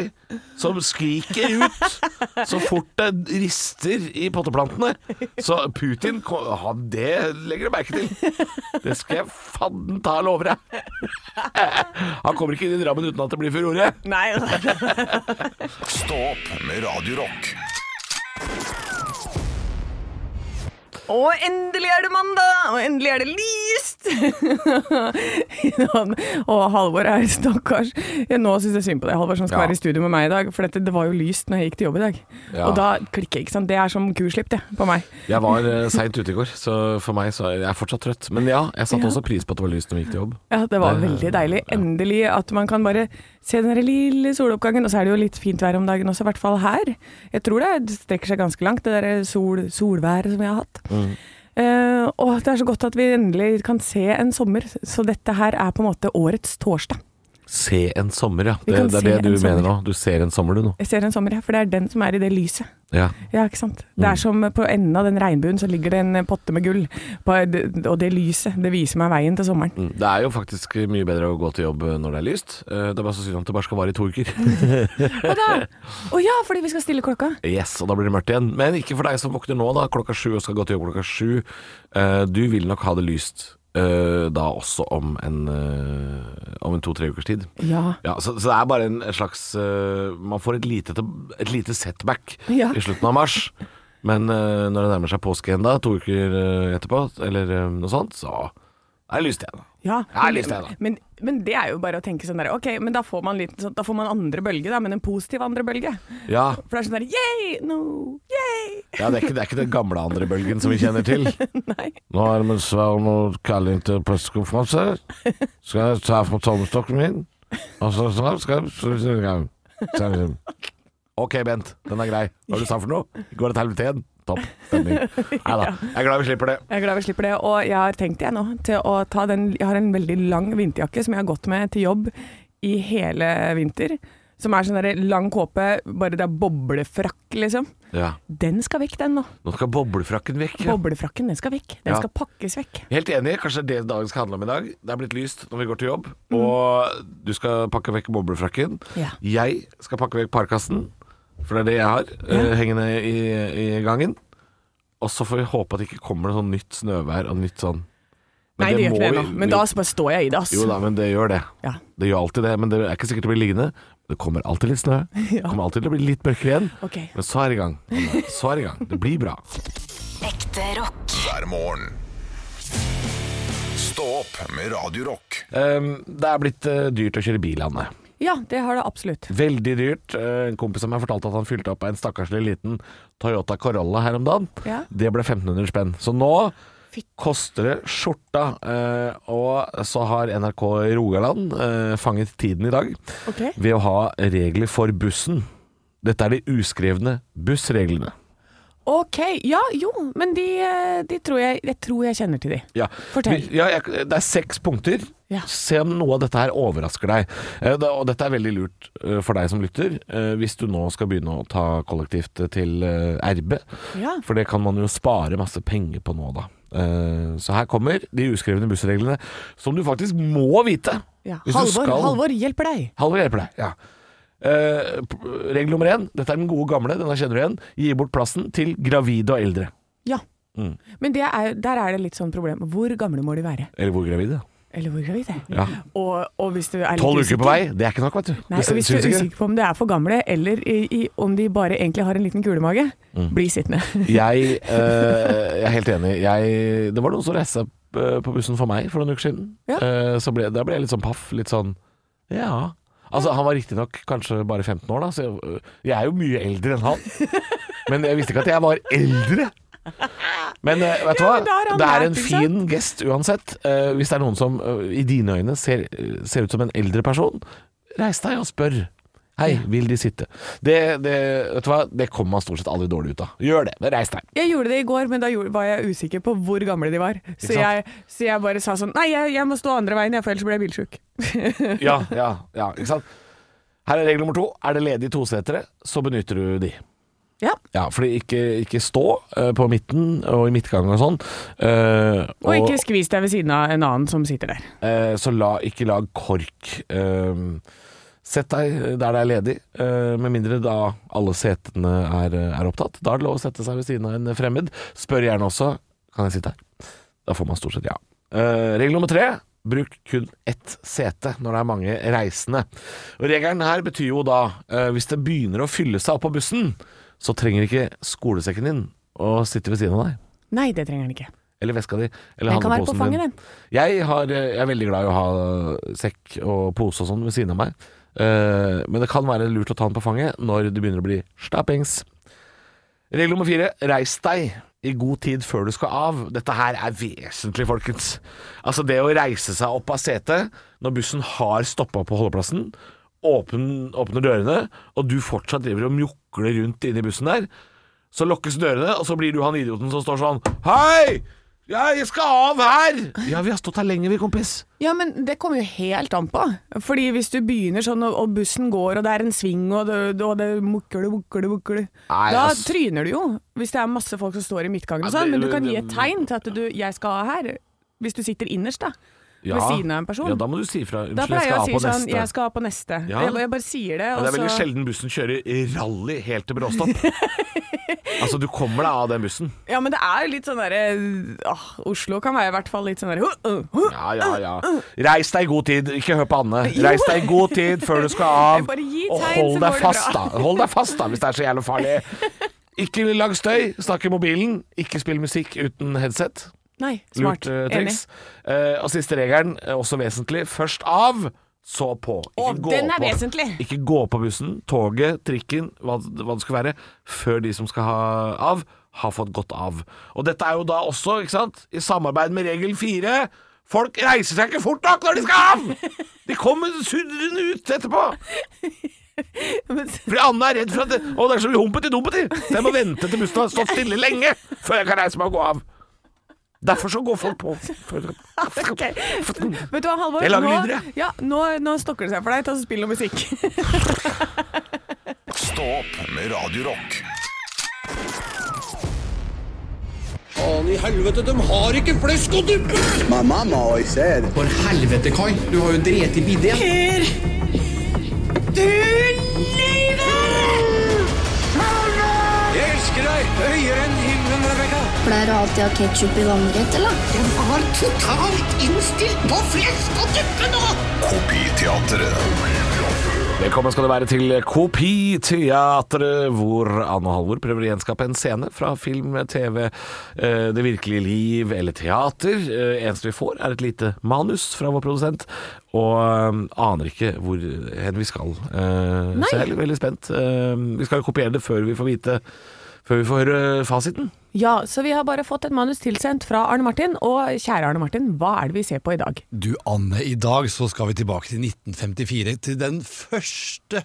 som skriker ut så fort det rister i potteplantene. Så Putin, ko- ja, det legger du merke til. Det skal jeg fadden ta og love deg. Han kommer ikke inn i Drammen uten at det blir furore. Nei, nei. Stå opp med Radio Rock. Og endelig er det mandag, og endelig er det lyst! Han- og Halvor er stakkars. Ja, Nå syns jeg synd på deg, Halvor, som skal Ja. være i studio med meg i dag. For dette, det var jo lyst når jeg gikk til jobb i dag. Ja. Og da klikker jeg, ikke sant. Det er som kuslipp, det, på meg. Jeg var seint ute i går, så for meg så er jeg fortsatt trøtt. Men ja, jeg satte også pris på at det var lyst når vi gikk til jobb. Ja, det var Det- veldig deilig. Endelig at man kan bare se den der lille soloppgangen. Og så er det jo litt fint vær om dagen også, i hvert fall her. Jeg tror det strekker seg ganske langt, det der sol, solværet som vi har hatt. Eh, og det er så godt at vi endelig kan se en sommer. Så dette her er på en måte årets torsdag. Se en sommer, ja. Vi Det, kan det er se det du en mener nå. sommer. Du ser en sommer, du nå. Jeg ser en sommer, ja, for det er den som er i det lyset. Ja. Ja, ikke sant? Det er som på enden av den regnbuen så ligger det en potte med gull. På, og det lyset, det viser meg veien til sommeren. Mm, Det er jo faktisk mye bedre å gå til jobb når det er lyst. Eh, Det er bare så synd at det bare skal vare i to uker. Og da, å ja, fordi vi skal stille klokka. Yes, og da blir det mørkt igjen. Men ikke for deg som våkner nå da, klokka sju og skal gå til jobb klokka sju. Eh, Du vil nok ha det lyst eh, da også om en, eh, om en to-tre ukers tid. Ja. Ja, så, så det er bare en, en slags eh, Man får et lite, til- et lite setback Ja. i slutten av mars. Men eh, når det nærmer seg påske igjen, da, to uker eh, etterpå, eller eh, noe sånt, så er det lyst igjen. Ja, Jeg har men- lyst til det, da. Men, men det er jo bare å tenke sånn der, ok, men da får man, litt, sånn- da får man andre bølge da, men en positiv andre bølge. Ja, For det er sånn der, yay, no, yay. ja det, er ikke, det er ikke den gamle andre bølgen som vi kjenner til. Nei. Nå er det med Sverre og Kalling til pressekonferanse. Skal jeg ta fra tommestokken min? Og så snart skal jeg liksom- OK, Bent. Den er grei. Hva var det du sa for noe? Går det til helvete igjen? Topp stemning. Nei da. Jeg er glad vi slipper det. Jeg er glad vi slipper det, og jeg har tenkt jeg nå til å ta den, jeg har en veldig lang vinterjakke som jeg har gått med til jobb i hele vinter, som er sånn der lang kåpe, bare det er boblefrakk liksom. Ja. Den skal vekk den nå. Nå skal boblefrakken vekk. ja. Boblefrakken, den skal vekk. Den Ja. skal pakkes vekk. Helt enig. Kanskje det er det dagen skal handle om i dag. Det er blitt lyst når vi går til jobb, og du skal pakke vekk boblefrakken. Mm. Ja. Jeg skal pakke vekk parkassen, for det er det jeg har eh, hengende i, i gangen. Og så får vi håpe at det ikke kommer noe sånn nytt snøvær og nytt sånn Men Nei, det gjør må ikke det vi- nå, men da bare står jeg i det, ass. Jo da, men det gjør det. Ja. Det gjør alltid det, men det er ikke sikkert det blir liggende. Det kommer alltid litt snø. Det kommer alltid til å bli litt mørkere igjen. Ok. Men så er det i gang. Anne. Så er det i gang. Det blir bra. Ekte rock. hver morgen. Stå opp med Radio Rock. Um, det er blitt eh, dyrt å kjøre bil, Anne. Ja, det har det absolutt. Veldig dyrt. Eh, En kompis av meg fortalte at han fylte opp en stakkarslig liten Toyota Corolla her om dagen. Ja. Det ble 1500 spenn. Så nå koster det skjorta. Eh, Og så har NRK Rogaland eh, fanget tiden i dag Ok. ved å ha regler for bussen. Dette er de uskrevne bussreglene. Ok, ja, jo, men de, eh, de tror jeg, jeg tror jeg kjenner til de. Ja. Fortell. Vi- Ja, jeg, det er seks punkter. Ja. Se om noe av dette her overrasker deg. Eh, det, og dette er veldig lurt eh, for deg som lytter, eh, hvis du nå skal begynne å ta kollektivt til eh, RB. Ja. For det kan man jo spare masse penger på nå, da. Eh, så her kommer de uskrevne bussreglene som du faktisk må vite. Ja. hvis du Halvor, skal- Halvor hjelper deg. Halvor hjelper deg. Ja. Eh, p- regel nummer én, dette er den gode gamle, denne kjenner du igjen. Gi bort plassen til gravide og eldre. Mm. Ja. Men det er, der er det litt sånn problem. Hvor gamle må de være? Eller hvor gravide? Eller hvor gravide? Ja. Og, og hvis du er litt Tolv uker usikker- på vei, det er ikke nok, vet du. Nei, og sy- hvis du syns er ikke det? usikker på om det er for gamle, eller i, i, om de bare egentlig har en liten kulemage, Mm. bli sittende. jeg, eh, jeg er helt enig. Jeg, det var noen som reiste seg eh, på bussen for meg for noen uker siden. Ja. Eh, så ble, da ble jeg litt sånn paff. Litt sånn ja. Altså, han var riktignok kanskje bare 15 år, da, så jeg, øh, jeg er jo mye eldre enn han. Men jeg visste ikke at jeg var eldre. Men eh, vet du Ja, hva? men da har han Det er lært, en ikke fin gest uansett. Eh, hvis det er noen som eh, i dine øyne ser, øh, ser ut som en eldre person, reis deg og spør. Hei, vil de sitte? Det, det, vet du hva? det kommer man stort sett aldri dårlig ut av. Gjør det, men reis deg. Jeg gjorde det i går, men da gjorde, var jeg usikker på hvor gamle de var. Så sant? jeg, så jeg bare sa sånn Nei, jeg, jeg må stå andre veien, jeg, for ellers blir jeg bilsjuk. Ja, ja, ja, ikke sant? Her er regel nummer to. Er det ledige tosetere, så benytter du de. Ja. Ja, fordi ikke, ikke stå eh, på midten og i midtgang og sånn. eh, Og ikke skvis deg ved siden av en annen som sitter der. Eh, Så la, ikke lag kork. Ehm, Sett deg der det er ledig, eh, med mindre da alle setene er, er opptatt. Da er det lov å sette seg ved siden av en fremmed. Spør gjerne også kan jeg sitte her. Da får man stort sett ja. Eh, Regel nummer tre bruk kun ett sete når det er mange reisende. Og Regelen her betyr jo da eh, hvis det begynner å fylle seg opp på bussen, så trenger ikke skolesekken din å sitte ved siden av deg. Nei, det trenger han ikke. Eller veska di. Eller Den kan være på handleposen fanget, din. den. Jeg, har, eh, jeg er veldig glad i å ha sekk og pose og sånn ved siden av meg. Eh, men det kan være lurt å ta den på fanget når du begynner å bli stappings. Regel nummer fire reis deg i god tid før du skal av. Dette her er vesentlig, folkens. Altså det å reise seg opp av setet når bussen har stoppa på holdeplassen, åpen, åpner dørene, og du fortsatt driver og mjukler rundt inni bussen der, så lukkes dørene, og så blir du han idioten som står sånn Hei! Ja, jeg skal av her! Ja, vi har stått her lenge, vi, kompis. Ja, men det kommer jo helt an på. Fordi hvis du begynner sånn, og og bussen går, og det er en sving, og det, og det mukler, mukler, mukler Nei, Da ass. tryner du jo. Hvis det er masse folk som står i midtgangen og Ja, sånn. det- Men du kan gi et tegn til at du 'jeg skal av her'. Hvis du sitter innerst, da. Ved siden av en person. Ja, da må du si fra. Da Unnskyld, jeg pleier jeg skal å av si på sånn 'jeg neste. skal altså» av på neste'. Ja. Jeg, jeg bare sier det, Ja, og det er veldig så sjelden bussen kjører i rally helt til bråstopp. altså, du kommer deg av den bussen. Ja, men det er litt sånn derre åh, Oslo kan være i hvert fall litt sånn derre «Huh, uh, huh». Ja, ja, ja. Reis deg i god tid. Ikke hør på Anne. Reis deg i god tid før du skal av. Bare gi og tegn, hold så går deg det fast, da. bra. Hold deg fast, da, hvis det er så jævlig farlig. Ikke lag støy. Snakk i mobilen. Ikke spill musikk uten headset. Nei, smart. Lurt eh, Enig. triks. Eh, og siste regelen, eh, også vesentlig. Først av, så på. Å, den er på. vesentlig. Ikke gå på bussen, toget, trikken, hva, hva det skal være, før de som skal ha av, har fått gått av. Og dette er jo da også, ikke sant, i samarbeid med regel fire. Folk reiser seg ikke fort nok når de skal av! De kommer sudrende ut etterpå! Men- Fordi Anne er redd for at det, Å, det er så mye humpeti dumpeti! Så jeg må vente til bussen har stått stille lenge før jeg kan reise meg og gå av. Derfor så går folk på. Vet du hva, Halvor? Jeg nå, lager lyder, jeg. Ja, nå, nå stokker det seg for deg. Ta og Spill noe musikk. Stå opp med Radio Rock. Faen i helvete, de har ikke flesk å duppe! My mama always said, For helvete, Kai. Du har jo drept i bidé. Pleier du alltid å ha ketsjup i vannrett, eller? Kopiteatret. Velkommen skal du være til Kopiteatret, hvor Anne og Halvor prøver å gjenskape en scene fra film, TV, eh, det virkelige liv eller teater. Eh, Eneste vi får, er et lite manus fra vår produsent, og eh, aner ikke hvor hen vi skal. Eh, Så jeg er veldig spent. Eh, Vi skal jo kopiere det før vi får vite Før vi får høre fasiten. Ja, så vi har bare fått et manus tilsendt fra Arne Martin. Og kjære Arne Martin, hva er det vi ser på i dag? Du Anne, i dag så skal vi tilbake til 1954, til den første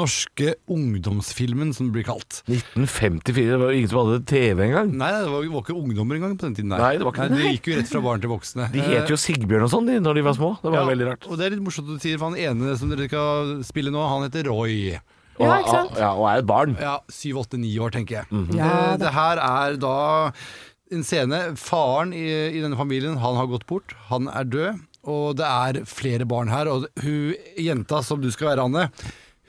norske ungdomsfilmen som det blir kalt. 1954, det var jo ingen som hadde TV engang. Nei, det var, var ikke ungdommer engang på den tiden. der. Nei, det var ikke det. Nei, det gikk jo rett fra barn til voksne. De Eh. het jo Sigbjørn og sånn de, når de var små. Det var veldig rart. Og det er litt morsomt at du sier, for han ene som dere skal spille nå, han heter Roy. Ja, ikke sant? Og, ja, og er et barn. Ja, syv, åtte, ni år, tenker jeg. Ja, Eh, det her er da en scene. Faren i, i denne familien, han har gått bort. Han er død. Og det er flere barn her. Og hun jenta som du skal være, Anne,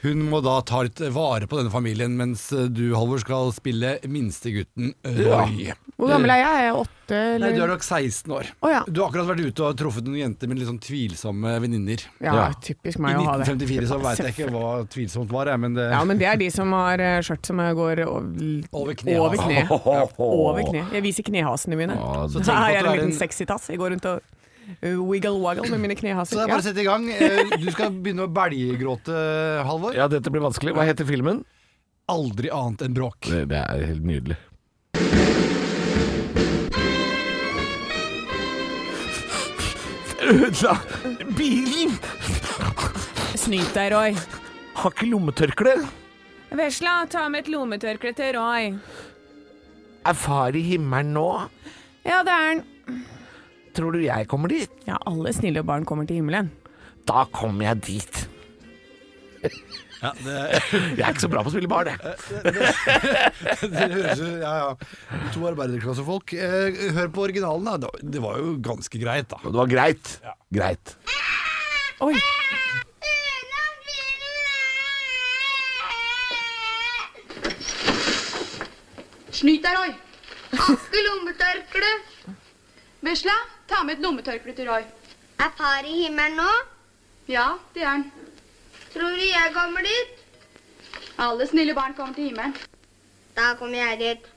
hun må da ta litt vare på denne familien, mens du, Halvor, skal spille minstegutten Roy. Hvor gammel er jeg? Er jeg åtte? Nei, du Eller? er nok 16 år. Å, ja. Du har akkurat vært ute og truffet noen jenter med litt sånn tvilsomme venninner. Ja, Ja. typisk I meg å ha det. 1954 så veit jeg ikke hva tvilsomt var, jeg, men det Ja, men det er de som har eh, skjørt som går over, Over altså. knehasen. Over kne. Over kne. Jeg viser knehasene mine. så tenk på at jeg er det en er liten en- sexy tass. Jeg går rundt og eh, wiggle waggle med mine Så det knehaser. er bare å sette i gang. Eh, Du skal begynne å belgegråte, Halvor. Ja, dette blir vanskelig. Hva heter filmen? Aldri annet enn bråk. Det, det er helt nydelig. Ødela bilen! Ja. Snyt deg, Roy. Har ikke lommetørkle. Vesla, ta med et lommetørkle til Roy. Er far i himmelen nå? Ja, det er han. Tror du jeg kommer dit? Ja, alle snille barn kommer til himmelen. Da kommer jeg dit. Ja, det, Jeg er ikke så bra på å spille barn, jeg. det høres jo Ja, ja. To arbeiderklassefolk. Eh, Hør på originalen, da. Det- Det var jo ganske greit, da. Men det var greit. Greit. Oi. Snyt deg, Roy. Aske lommetørkle. Vesla, ta med et lommetørkle til Roy. Er far i himmelen nå? Ja, det er han. Tror du jeg kommer dit? Alle snille barn kommer til himmelen. Da kommer jeg dit.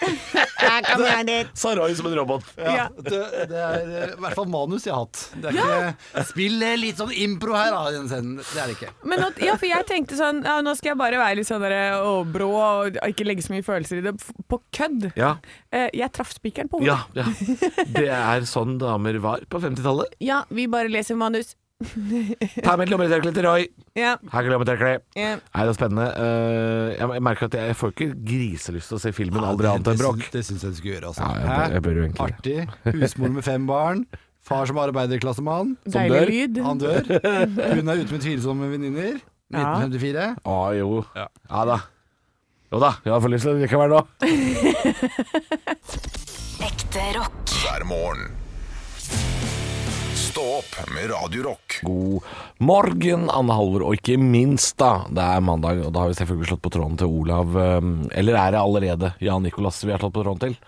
Sa Roy som en robot. Ja. Det, det er eh, i hvert fall manus jeg har hatt. Det er ikke, spill eh, litt sånn impro her, da. i den scenen. Det er det ikke. Men at, ja, for jeg tenkte sånn ja, Nå skal jeg bare være litt sånn der, å, brå og ikke legge så mye følelser i det. F- På kødd. Ja. Eh, jeg traff spikeren på ja, hodet. ja. Det er sånn damer var på 50-tallet. Ja. vi bare leser manus. Ta med et lommetørkle til Roy. Ja, Her er lommetørkle. ja. Nei, det er spennende. Eh, jeg- Jeg merker at jeg får ikke griselyst til å se filmen aldri annet enn bråk. Det syns jeg du skulle gjøre, altså. Ja, jeg bør- jeg bør jo egentlig det. Artig. Husmor med fem barn. Far som arbeiderklassemann. Deilig dør. lyd. Han dør. Hun er ute med tvilsomme venninner. Ja. 1954. Å, jo. Ja. da. Jo da, jeg har for lyst til det likevel nå. Ekte rock. hver morgen. Stå opp med Radio Rock. God morgen, Anne Halvor, og ikke minst, da. Det er mandag, og da har vi selvfølgelig slått på tråden til Olav. eh, Eller er det allerede Jan Nicolas vi har slått på tråden til?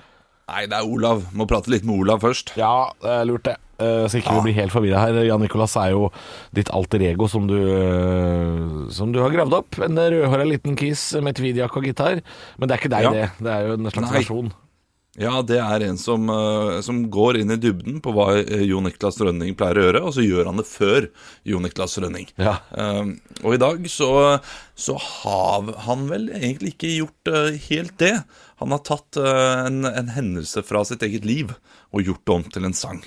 Nei, det er Olav. Må prate litt med Olav først. Ja, det er lurt det. Eh, Så ikke vi blir helt forvirra her. Jan Nicolas er jo ditt alter ego som du, eh, som du har gravd opp. En rødhåra liten kis med tweedjakke og gitar. Men det er ikke deg, Ja. det. Det er jo en slags Nei. versjon. Ja, det er en som, eh, som går inn i dybden på hva eh, Jo Niklas Rønning pleier å gjøre, og så gjør han det før Jo Niklas Rønning. Ja. Eh, og i dag så, så har han vel egentlig ikke gjort eh, helt det. Han har tatt eh, en, en hendelse fra sitt eget liv og gjort det om til en sang.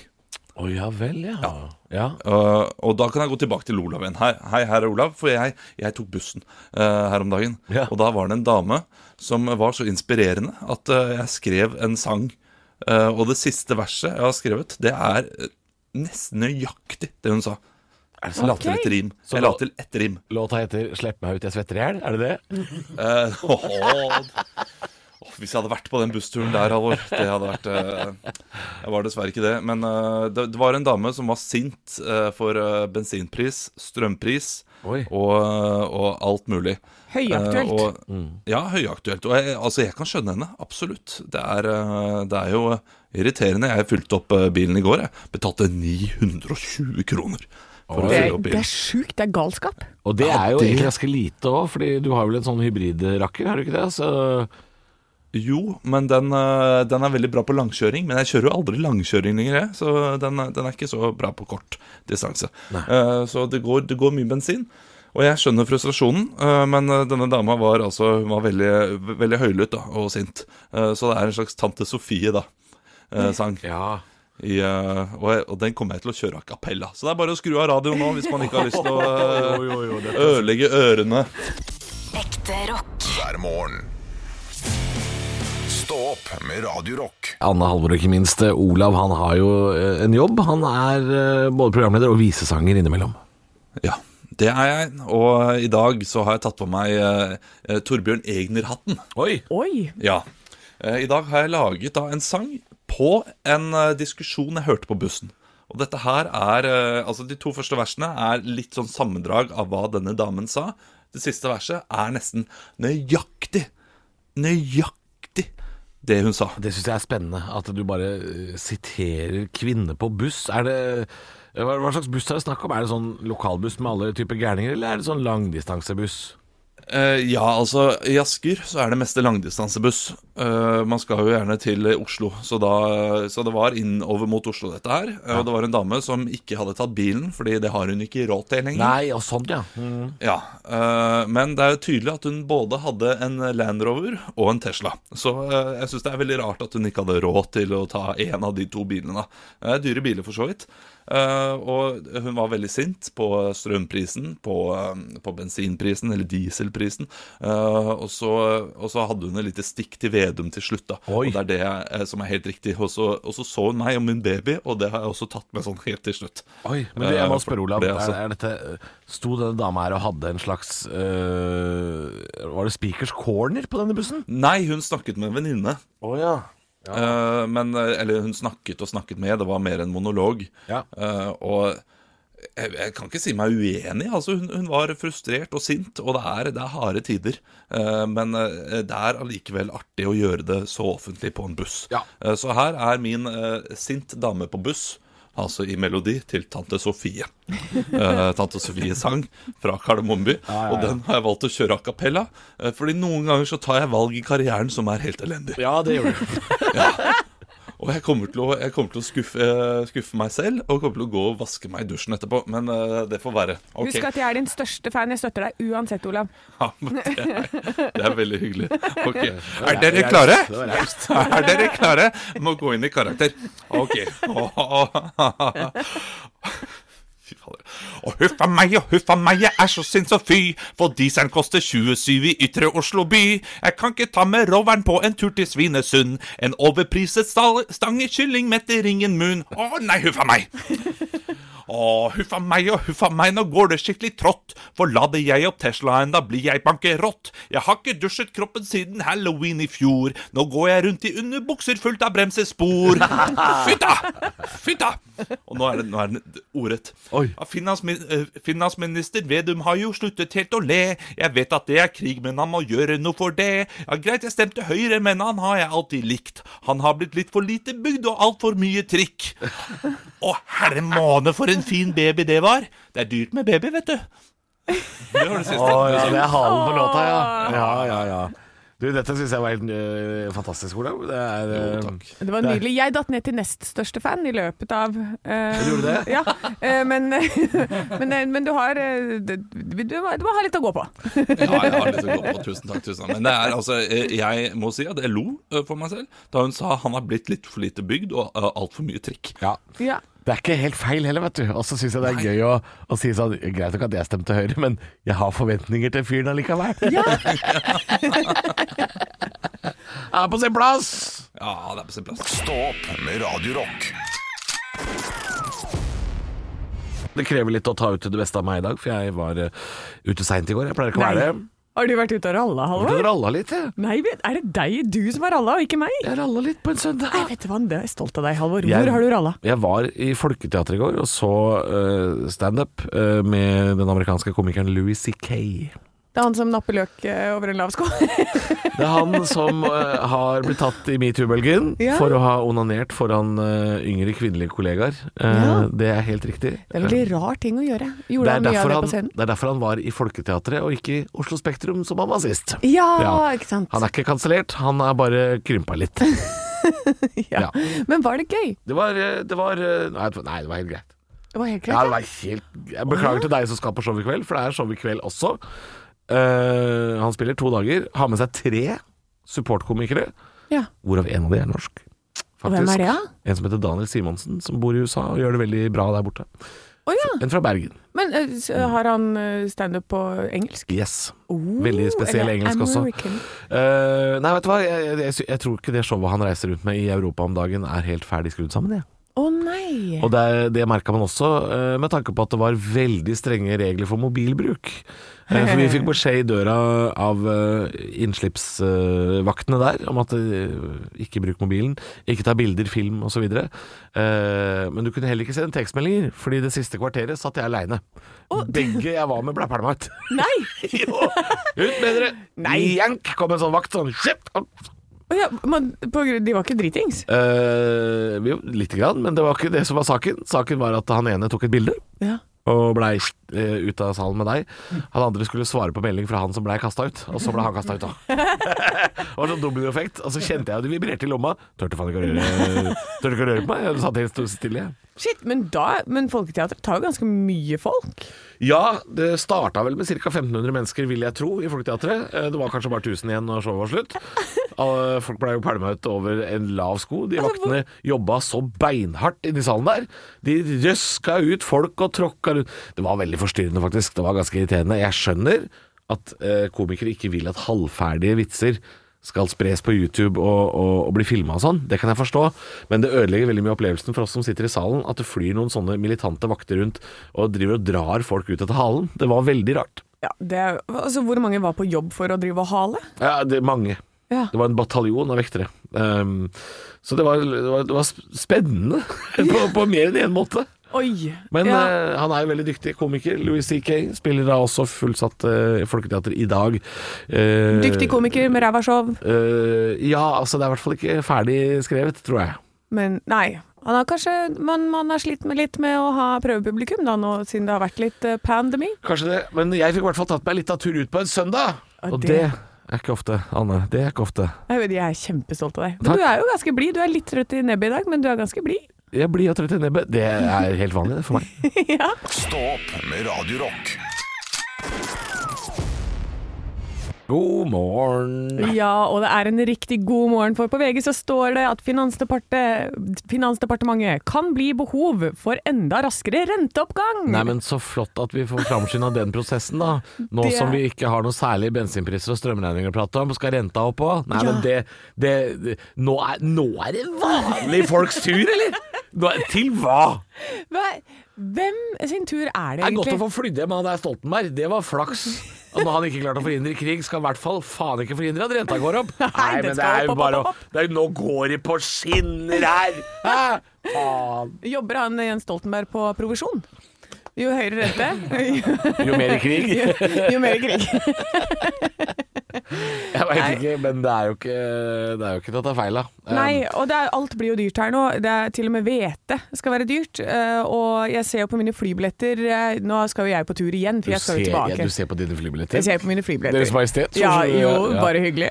Å ja vel, ja. ja. Eh, og da kan jeg gå tilbake til Olav igjen. Hei, hei her er Olav. For jeg, jeg tok bussen eh, her om dagen. Ja. Og da var det en dame som var så inspirerende at eh, jeg skrev en sang. Eh, og det siste verset jeg har skrevet, det er eh, nesten nøyaktig det hun sa. Jeg la til et rim. Så jeg la da- til ett rim. Låta heter 'Slipp meg ut, jeg svetter i hjel'. Er det det? Eh, åh, åh, hvis jeg hadde vært på den bussturen der, Halvor Det hadde vært eh, Jeg var dessverre ikke det. Men eh, det, det var en dame som var sint eh, for eh, bensinpris, strømpris Oi. og, eh, og alt mulig. Høyaktuelt. Eh, og, Ja, høyaktuelt. Og jeg, altså, jeg kan skjønne henne, absolutt. Det er, eh, det er jo irriterende. Jeg fylte opp eh, bilen i går. Jeg betalte 920 kroner for det, å fylle er, opp det er bilen. sjukt. Det er galskap. Og det er jo det- egentlig ganske lite òg, Fordi du har vel en sånn hybridrakker, har du ikke det? Så Jo, men den, eh, den er veldig bra på langkjøring. Men jeg kjører jo aldri langkjøring lenger, jeg. Så den, er- den er ikke så bra på kort distanse. Eh, Så det går, det går mye bensin. Og jeg skjønner frustrasjonen, eh, men eh, denne dama var altså Hun var veldig, ve- veldig høylytt da, og sint. Eh, Så det er en slags Tante Sofie, da. eh, Sang. ja. I, eh, og, jeg, og den kommer jeg til å kjøre a cappella. Så det er bare å skru av radioen nå hvis man ikke har lyst til å eh, ødelegge ørene. Ekte rock. hver morgen. Stå opp med Radio Rock. Anne Halvor og ikke minst eh, Olav, han har jo eh, en jobb. Han er eh, både programleder og visesanger innimellom. Ja, det er jeg. Og i dag så har jeg tatt på meg eh, eh, Torbjørn Egner-hatten. Oi! Oi. Ja. Eh, I dag har jeg laget da en sang på en eh, diskusjon jeg hørte på bussen. Og dette her er eh, Altså, de to første versene er litt sånn sammendrag av hva denne damen sa. Det siste verset er nesten nøyaktig Nøyaktig det hun sa. Det syns jeg er spennende, at du bare eh, siterer kvinner på buss. Er det eh, hva, hva slags buss er det snakk om? Er det sånn lokalbuss med alle typer gærninger, eller er det sånn langdistansebuss? Eh, ja, altså i Asker så er det meste langdistansebuss. Eh, man skal jo gjerne til Oslo, så, da, så det var innover mot Oslo dette her. Eh, Og det var en dame som ikke hadde tatt bilen, fordi det har hun ikke råd til lenger. Nei, og sånn, ja. Ja, eh, Men det er jo tydelig at hun både hadde en Land Rover og en Tesla. Så eh, jeg syns det er veldig rart at hun ikke hadde råd til å ta en av de to bilene. da. Eh, dyre biler, for så vidt. Eh, og hun var veldig sint på strømprisen, på, eh, på bensinprisen eller dieselprisen. Eh, og, så, og så hadde hun et lite stikk til Vedum til slutt, da. Oi. Og det er det eh, som er helt riktig. Og så, og så så hun meg og min baby, og det har jeg også tatt med sånn helt til slutt. Oi, men det, jeg må Eh, for- spørre, Olav. for det, er, altså. er dette, eh, sto denne dama her og hadde en slags øh, Var det Speakers Corner på denne bussen? Nei, hun snakket med en venninne. Å ja. Eh, men, eller hun snakket og snakket med, det var mer en monolog. Ja. Eh, og jeg, jeg kan ikke si meg uenig. Altså, hun, hun var frustrert og sint, og det er, det er harde tider. Eh, men eh, det er allikevel artig å gjøre det så offentlig på en buss. Ja. Eh, så her er min eh, sint dame på buss. Altså i melodi til Tante Sofie. Eh, Tante Sofie sang fra Kardemommeby. ja, ja. Og den har jeg valgt å kjøre a cappella. eh, fordi noen ganger så tar jeg valg i karrieren som er helt elendig. ja, det gjorde du. Og jeg kommer til å, jeg kommer til å skuffe, eh, skuffe meg selv, og kommer til å gå og vaske meg i dusjen etterpå. Men eh, det får være. Ok. Husk at jeg er din største fan. Jeg støtter deg uansett, Olav. Ja, men det, er, det er veldig hyggelig. Ok, Er Det dere var klare? raust, det var raust. Er dere klare? Må gå inn i karakter. Ok. Fy fader. Og huff a meg og huff a meg, jeg er så sint så fy. For dieselen koster 27 i ytre Oslo by. Jeg kan ikke ta med roveren på en tur til Svinesund. En overpriset stal- stange kylling metter ingen munn. Å nei, huff a meg. Å, huffa meg og huffa meg, nå går det skikkelig trått. For lader jeg opp Teslaen, da blir jeg bankerott. Jeg har ikke dusjet kroppen siden halloween i fjor. Nå går jeg rundt i underbukser fullt av bremsespor. Fytta! Fytta! Og nå er det, nå er det ordrett. Oi. Ja, Finansmi eh, finansminister Vedum har jo sluttet helt å le. Jeg vet at det er krig, men han må gjøre noe for det. Ja, Greit, jeg stemte Høyre, men han har jeg alltid likt. Han har blitt litt for lite bygd og altfor mye trikk. Å, herre måne, for en fin baby det var. Det er dyrt med baby, vet du. Det var det siste. Å ja, det er halen på låta, ja. Ja, ja, ja. Du, dette syns jeg var helt øh, fantastisk, Olav. Det er øh, Det var nydelig. Jeg datt ned til nest største fan i løpet av eh, gjorde det? Ja, eh, men, men, men du har eh, du, du må- du må ha litt å gå på. Ja, jeg har litt å gå på. Tusen takk. tusen takk Men det er altså, eh, jeg må si at jeg lo eh, for meg selv da hun sa han har blitt litt for lite bygd og eh, altfor mye trikk. Ja. Ja. Det er ikke helt feil heller, vet du. Og så syns jeg det er gøy å, å si sånn Greit nok at jeg stemte Høyre, men jeg har forventninger til fyren allikevel. Ja. er på sin plass! Ja, det er på sin plass. Stå opp med Radio Rock. Det krever litt å ta ut det beste av meg i dag, for jeg var eh, ute seint i går. Jeg pleier ikke å Nei. være det. Har du vært ute og ralla, Jeg har Halvor? ralla litt, jeg. Nei, vet- er det deg du som har ralla, og ikke meg? Jeg ralla litt på en søndag. Nei, vet du hva, det er jeg stolt av deg, Halvor. Jeg- Hvor har du ralla? Jeg var i Folketeatret i går og så eh, standup eh, med den amerikanske komikeren Louis C.K. Det er han som napper løk eh, over en lav sko. Det er han som eh, har blitt tatt i metoo-bølgen Ja. for å ha onanert foran eh, yngre kvinnelige kollegaer. Eh, Ja. Det er helt riktig. Det er en veldig rar ting å gjøre. Det Gjorde er, han mye av derfor det han, på scenen? det er derfor han var i Folketeatret og ikke i Oslo Spektrum, som han var sist. Ja, Ja. ikke sant. Han er ikke kansellert, han er bare krympa litt. ja. ja. Men var det gøy? Det var, eh, det var eh, Nei, det var- nei, det var helt greit. Det var helt Ja, greit. det var helt Jeg beklager til deg som skal på show i kveld, for det er show i kveld også. Eh, han spiller to dager, har med seg tre supportkomikere, Ja. hvorav en av de er norsk. Og hvem er det, da? En som heter Daniel Simonsen, som bor i USA og gjør det veldig bra der borte. Å ja. En fra Bergen. Men eh, s- Mm. har han eh, standup på engelsk? Yes. Oh, Veldig spesiell eller engelsk også. American. Eh, nei, vet du hva, jeg, jeg, jeg, sy- jeg tror ikke det showet han reiser rundt med i Europa om dagen er helt ferdig skrudd sammen, jeg. Å nei. Og det, det merka man også eh, med tanke på at det var veldig strenge regler for mobilbruk. Eh, For vi fikk beskjed i døra av eh, innslippsvaktene der om at eh, ikke bruk mobilen, ikke ta bilder, film osv. Eh, Men du kunne heller ikke sende tekstmeldinger, fordi det siste kvarteret satt jeg aleine. Begge jeg var med ble pælma ut. Nei! jo, ut med dere! Nei. Jank kom en sånn vakt sånn «Shit!» Å ja, men på, grunn- de var ikke dritings? Eh, Jo, lite grann, men det var ikke det som var saken. Saken var at han ene tok et bilde. Ja. og blei eh, ut av salen med deg. Han andre skulle svare på melding fra han som blei kasta ut, og så blei han kasta ut òg. det var sånn dominoeffekt. Og så kjente jeg at det vibrerte i lomma. Turte faen ikke å røre Turte ikke å røre på meg. Jeg satt helt stille, jeg. Shit, men, da, men Folketeatret tar jo ganske mye folk. Ja, det starta vel med ca. 1500 mennesker, vil jeg tro, i Folketeatret. Eh, Det var kanskje bare 1000 igjen når showet var slutt. Alle Folk ble jo pælma ut over en lav sko. De vaktene jobba så beinhardt inni salen der. De røska ut folk og tråkka rundt. Det var veldig forstyrrende, faktisk. Det var ganske irriterende. Jeg skjønner at eh, komikere ikke vil at halvferdige vitser skal spres på YouTube og, og, og bli filma og sånn. Det kan jeg forstå, men det ødelegger veldig mye opplevelsen for oss som sitter i salen, at det flyr noen sånne militante vakter rundt og driver og drar folk ut etter halen. Det var veldig rart. Ja, det er, altså, hvor mange var på jobb for å drive og hale? Ja, det er mange. Ja. Det var en bataljon av vektere. Ehm, så det var, det var, det var sp- spennende på, på mer enn én måte. Oi. Men ja. eh, han er jo veldig dyktig komiker. Louis C.K. spiller da også fullsatt eh, Folketeater i dag. Eh, Dyktig komiker med ræva show, eh, ja, altså det er i hvert fall ikke ferdig skrevet, tror jeg. men nei. Han har kanskje, men man har slitt med litt med å ha prøvepublikum da nå, siden det har vært litt eh, pandemi. Kanskje det, men jeg fikk i hvert fall tatt meg litt av tur ut på en søndag. Ja, Og det det- er ikke ofte, Anne. Det er ikke ofte. Jeg, vet, jeg er kjempestolt av deg. Takk. Men du er jo ganske blid. Du er litt trøtt i nebbet i dag, men du er ganske blid. Jeg blir av trøtt i nebbet. Det er helt vanlig det for meg. ja. Stå opp med Radio Rock. God morgen. Ja, og det er en riktig god morgen, for på VG så står det at Finansdepartementet, Finansdepartementet kan bli behov for enda raskere renteoppgang. Nei, men så flott at vi får framskynda den prosessen, da. Nå Det- som vi ikke har noe særlig bensinpriser og strømregninger å prate om, skal renta opp òg? Nei, Ja. men det, det, det nå, er, nå er det vanlige folks tur, eller? Nå er, til hva? Hva- Hvem sin tur er det Det er godt egentlig? å få flydd hjem han der Stoltenberg. Det var flaks. Og når han ikke klarte å forhindre krig, skal han i hvert fall faen ikke forhindre at renta går opp. Nei, den men det skal er opp, jo opp, bare opp, å det er jo- Nå går de på skinner her! Hæ? Faen. Jobber han Jens Stoltenberg på provisjon? Jo høyere rente, jo, Jo mer krig. jo mer krig. Jeg veit ikke, men det er jo ikke Det er jo ikke til å ta feil av. Um, Nei, og det er, alt blir jo dyrt her nå. Det er Til og med hvete skal være dyrt. eh, og jeg ser jo på mine flybilletter eh, Nå skal jo jeg på tur igjen, for Du jeg skal ser, jo tilbake. ja, du ser på dine flybilletter. Jeg ser på mine flybilletter. Deres Majestet, sånn Ja, som du- jo, ja. bare hyggelig.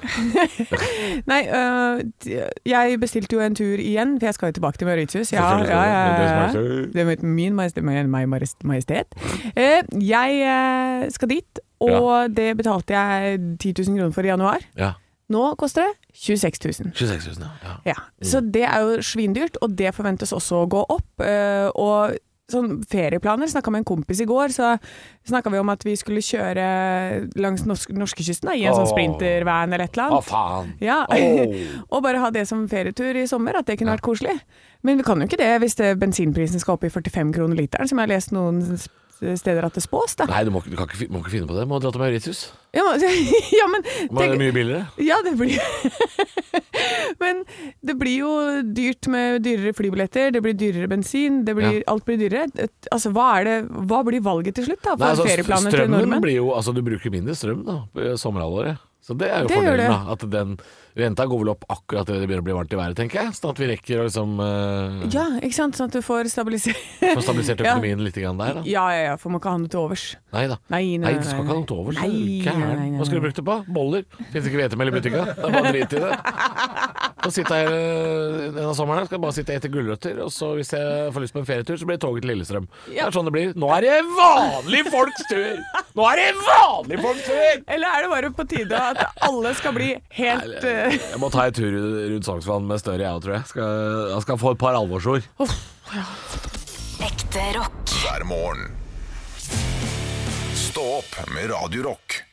Nei, øh, d- jeg bestilte jo en tur igjen, for jeg skal jo tilbake til Mauritius. Ja, ja, Selvfølgelig skal du ja, det. ja. Deres Majestet. Det er min majestet. Min min majestet. majestet. Eh, Jeg eh, skal dit, og det betalte jeg 10 000 kroner for i januar. Ja. Nå koster det 26 000. 26 000, ja. Ja, så det er jo svindyrt, og det forventes også å gå opp. eh, og sånn ferieplaner, snakka med en kompis i går, så snakka vi om at vi skulle kjøre langs norsk, norskekysten da, i en sånn Åh. sprintervan eller et eller Å, annet. faen! Ja, Åh. og bare ha det som ferietur i sommer, at det kunne vært koselig. Men vi kan jo ikke det hvis det, bensinprisen skal opp i 45 kroner literen, som jeg har lest noen s- steder at det spås, da. Nei, du må, ikke- du kan ikke, fi- må ikke finne på det. Må dra til Mauritius. Ja, men, ja, men Må det tenk- er mye billigere. Ja, det blir Men det blir jo dyrt med dyrere flybilletter, det blir dyrere bensin, det blir, Ja. alt blir dyrere. Et- Altså, hva, er det, hva blir valget til slutt, da? For Nei, altså, ferieplaner til strømmen nordmenn? blir jo Altså, du bruker mindre strøm da på eh, sommerhalvåret. Så det er jo Det gjør fordelen, det. da. At den renta går vel opp akkurat idet det begynner å bli varmt i været, tenker jeg. Sånn at vi rekker å liksom eh, Ja, ikke sant? Sånn at du får stabilisert få stabilisert Ja. økonomien litt grann der, da. Ja, ja, ja, for man kan ha noe til overs. Nei da. Nei, nei, du nei, skal ikke nei. ha noe til overs. Nei, er du nei, nei, Gæren. nei. Hva skulle du brukt det på? Boller? Fins ikke hvetemel i butikka. Det er bare drit i det. Så sitter jeg eh, denne sommeren her, skal bare sitte og ete gulrøtter, og så hvis jeg får lyst på en ferietur, så blir det toget til Lillestrøm. Det Ja. er sånn det blir. Nå er det vanlige folks tur! Nå er det vanlige folks tur! Eller er det bare på tide at alle skal bli helt eh, Jeg må ta en tur rundt Sognsvann med Støre, jeg òg, tror jeg. Skal, jeg skal få et par alvorsord. Ekte rock. hver morgen. Stå opp med Radio Rock.